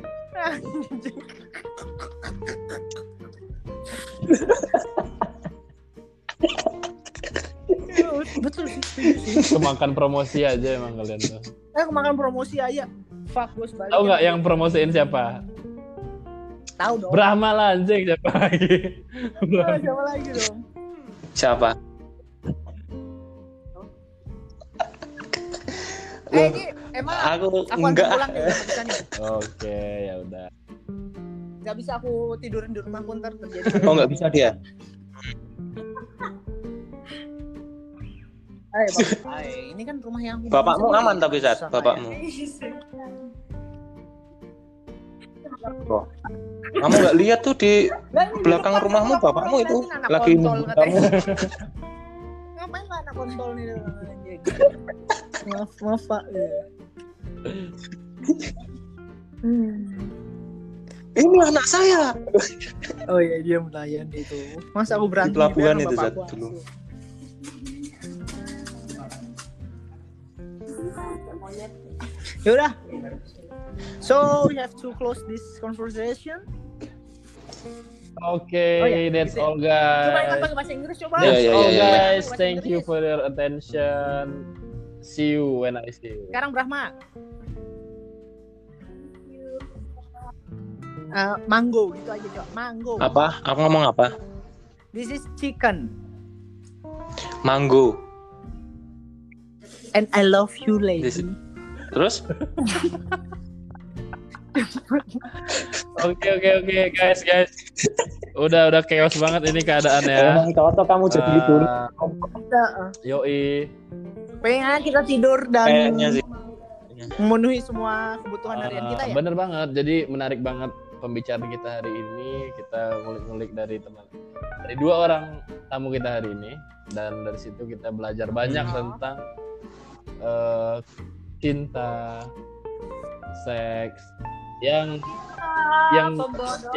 [SPEAKER 1] Betul sih.
[SPEAKER 3] Kemakan promosi aja emang kalian tuh.
[SPEAKER 1] Eh kemakan promosi aja. Fuck bos balik.
[SPEAKER 3] Tahu nggak yang promosiin siapa?
[SPEAKER 1] Tahu dong.
[SPEAKER 3] Brahma lah anjing siapa lagi?
[SPEAKER 1] Ah, Siapa lagi dong?
[SPEAKER 2] Siapa?
[SPEAKER 1] Eh ini emang
[SPEAKER 2] Aku
[SPEAKER 1] aku harus
[SPEAKER 2] enggak.
[SPEAKER 1] pulang nih, nggak bisa nih.
[SPEAKER 3] Oke, ya udah.
[SPEAKER 1] Gak bisa aku tidurin di rumah pun ntar terjadi.
[SPEAKER 2] Oh nggak bisa dia.
[SPEAKER 1] Ay, Bapak. Ay, Eh, ini kan rumah yang aku bangun
[SPEAKER 2] Bapakmu
[SPEAKER 1] sendiri.
[SPEAKER 2] aman tapi saat
[SPEAKER 1] Susah,
[SPEAKER 2] bapakmu.
[SPEAKER 1] ya.
[SPEAKER 2] Kamu nggak lihat tuh di belakang rumahmu bapakmu itu lagi nunggu kamu.
[SPEAKER 1] Ngapain lah anak kontol nih Iya, gitu. Maaf, maaf pak. Iya.
[SPEAKER 2] Ini anak saya.
[SPEAKER 1] Oh iya dia melayan itu. Mas aku berani.
[SPEAKER 2] Di pelabuhan
[SPEAKER 1] biar
[SPEAKER 2] itu,
[SPEAKER 1] bapak
[SPEAKER 2] Zat,
[SPEAKER 1] aku
[SPEAKER 2] dulu.
[SPEAKER 1] asuh. Yaudah. Ya So we have to close this conversation.
[SPEAKER 3] Oke,
[SPEAKER 1] Oh, ya,
[SPEAKER 3] that's
[SPEAKER 1] gitu ya.
[SPEAKER 3] all
[SPEAKER 1] Coba Iya, ingat
[SPEAKER 3] guys.
[SPEAKER 1] pakai bahasa Inggris coba. Oh,
[SPEAKER 2] Ya,
[SPEAKER 3] That's
[SPEAKER 2] ya,
[SPEAKER 3] all
[SPEAKER 2] ya, ya.
[SPEAKER 3] guys.
[SPEAKER 1] Bahasa
[SPEAKER 3] Thank you
[SPEAKER 1] Inggris.
[SPEAKER 3] for your attention. See you when I see you.
[SPEAKER 1] Sekarang Brahma. Eh, mango gitu aja coba. Mango.
[SPEAKER 2] Apa? Aku ngomong apa?
[SPEAKER 1] This is chicken
[SPEAKER 2] Manggo.
[SPEAKER 1] and I love you lady.
[SPEAKER 2] This is- Terus?
[SPEAKER 3] Oke, oke, oke, guys, guys. Udah, udah chaos banget ini ya. keadaannya.
[SPEAKER 2] Ya. Emang cocok kamu jadi guru.
[SPEAKER 1] Kita, eh,
[SPEAKER 3] Yoi.
[SPEAKER 1] Pengen Ya, kita tidur dan
[SPEAKER 2] Kayaknya sih.
[SPEAKER 1] memenuhi semua kebutuhan harian
[SPEAKER 3] Eh,
[SPEAKER 1] kita ya.
[SPEAKER 3] Bener banget. Jadi menarik banget pembicaraan kita hari ini. Kita ngulik-ngulik dari teman dari dua orang tamu kita hari ini dan dari situ kita belajar banyak
[SPEAKER 4] Hmm.
[SPEAKER 3] tentang eh, cinta, seks yang
[SPEAKER 6] Ah,
[SPEAKER 3] yang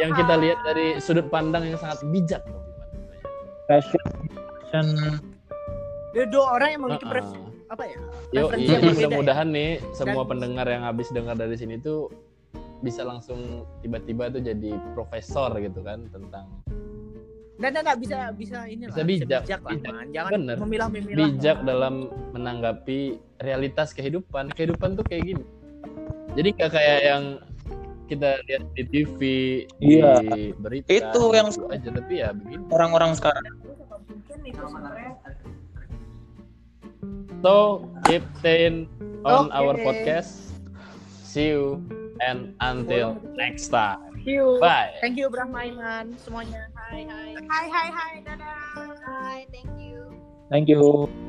[SPEAKER 3] yang kita lihat dari sudut pandang yang sangat bijak.
[SPEAKER 2] Fashion.
[SPEAKER 1] Ada dua orang yang memiliki
[SPEAKER 3] Heeh.
[SPEAKER 1] pref- apa ya?
[SPEAKER 3] Yo, iya,
[SPEAKER 1] Preferensi
[SPEAKER 2] yang berbeda
[SPEAKER 3] mudah-mudahan nih semua
[SPEAKER 1] Dan-
[SPEAKER 3] pendengar yang habis dengar dari sini tuh bisa langsung tiba-tiba tuh jadi profesor gitu kan tentang
[SPEAKER 1] Dan enggak bisa bisa ini lah.
[SPEAKER 3] Bisa bijak,
[SPEAKER 1] lah,
[SPEAKER 3] bijak.
[SPEAKER 1] Man. Jangan
[SPEAKER 3] Bener.
[SPEAKER 1] memilah-memilah.
[SPEAKER 3] bijak dalam menanggapi realitas kehidupan. Kehidupan tuh kayak gini. Jadi nggak kayak yang kita lihat di TV,
[SPEAKER 2] Iya.
[SPEAKER 3] di berita.
[SPEAKER 2] Itu yang-
[SPEAKER 3] gitu aja tapi ya begini.
[SPEAKER 2] Orang-orang sekarang.
[SPEAKER 3] So keep staying
[SPEAKER 1] Oke.
[SPEAKER 3] on our podcast. See you and until next time.
[SPEAKER 1] Thank you.
[SPEAKER 3] Bye.
[SPEAKER 1] Thank you Brahma Iman semuanya.
[SPEAKER 5] Hai hai hai dadah. Hai, thank you.
[SPEAKER 2] Thank you.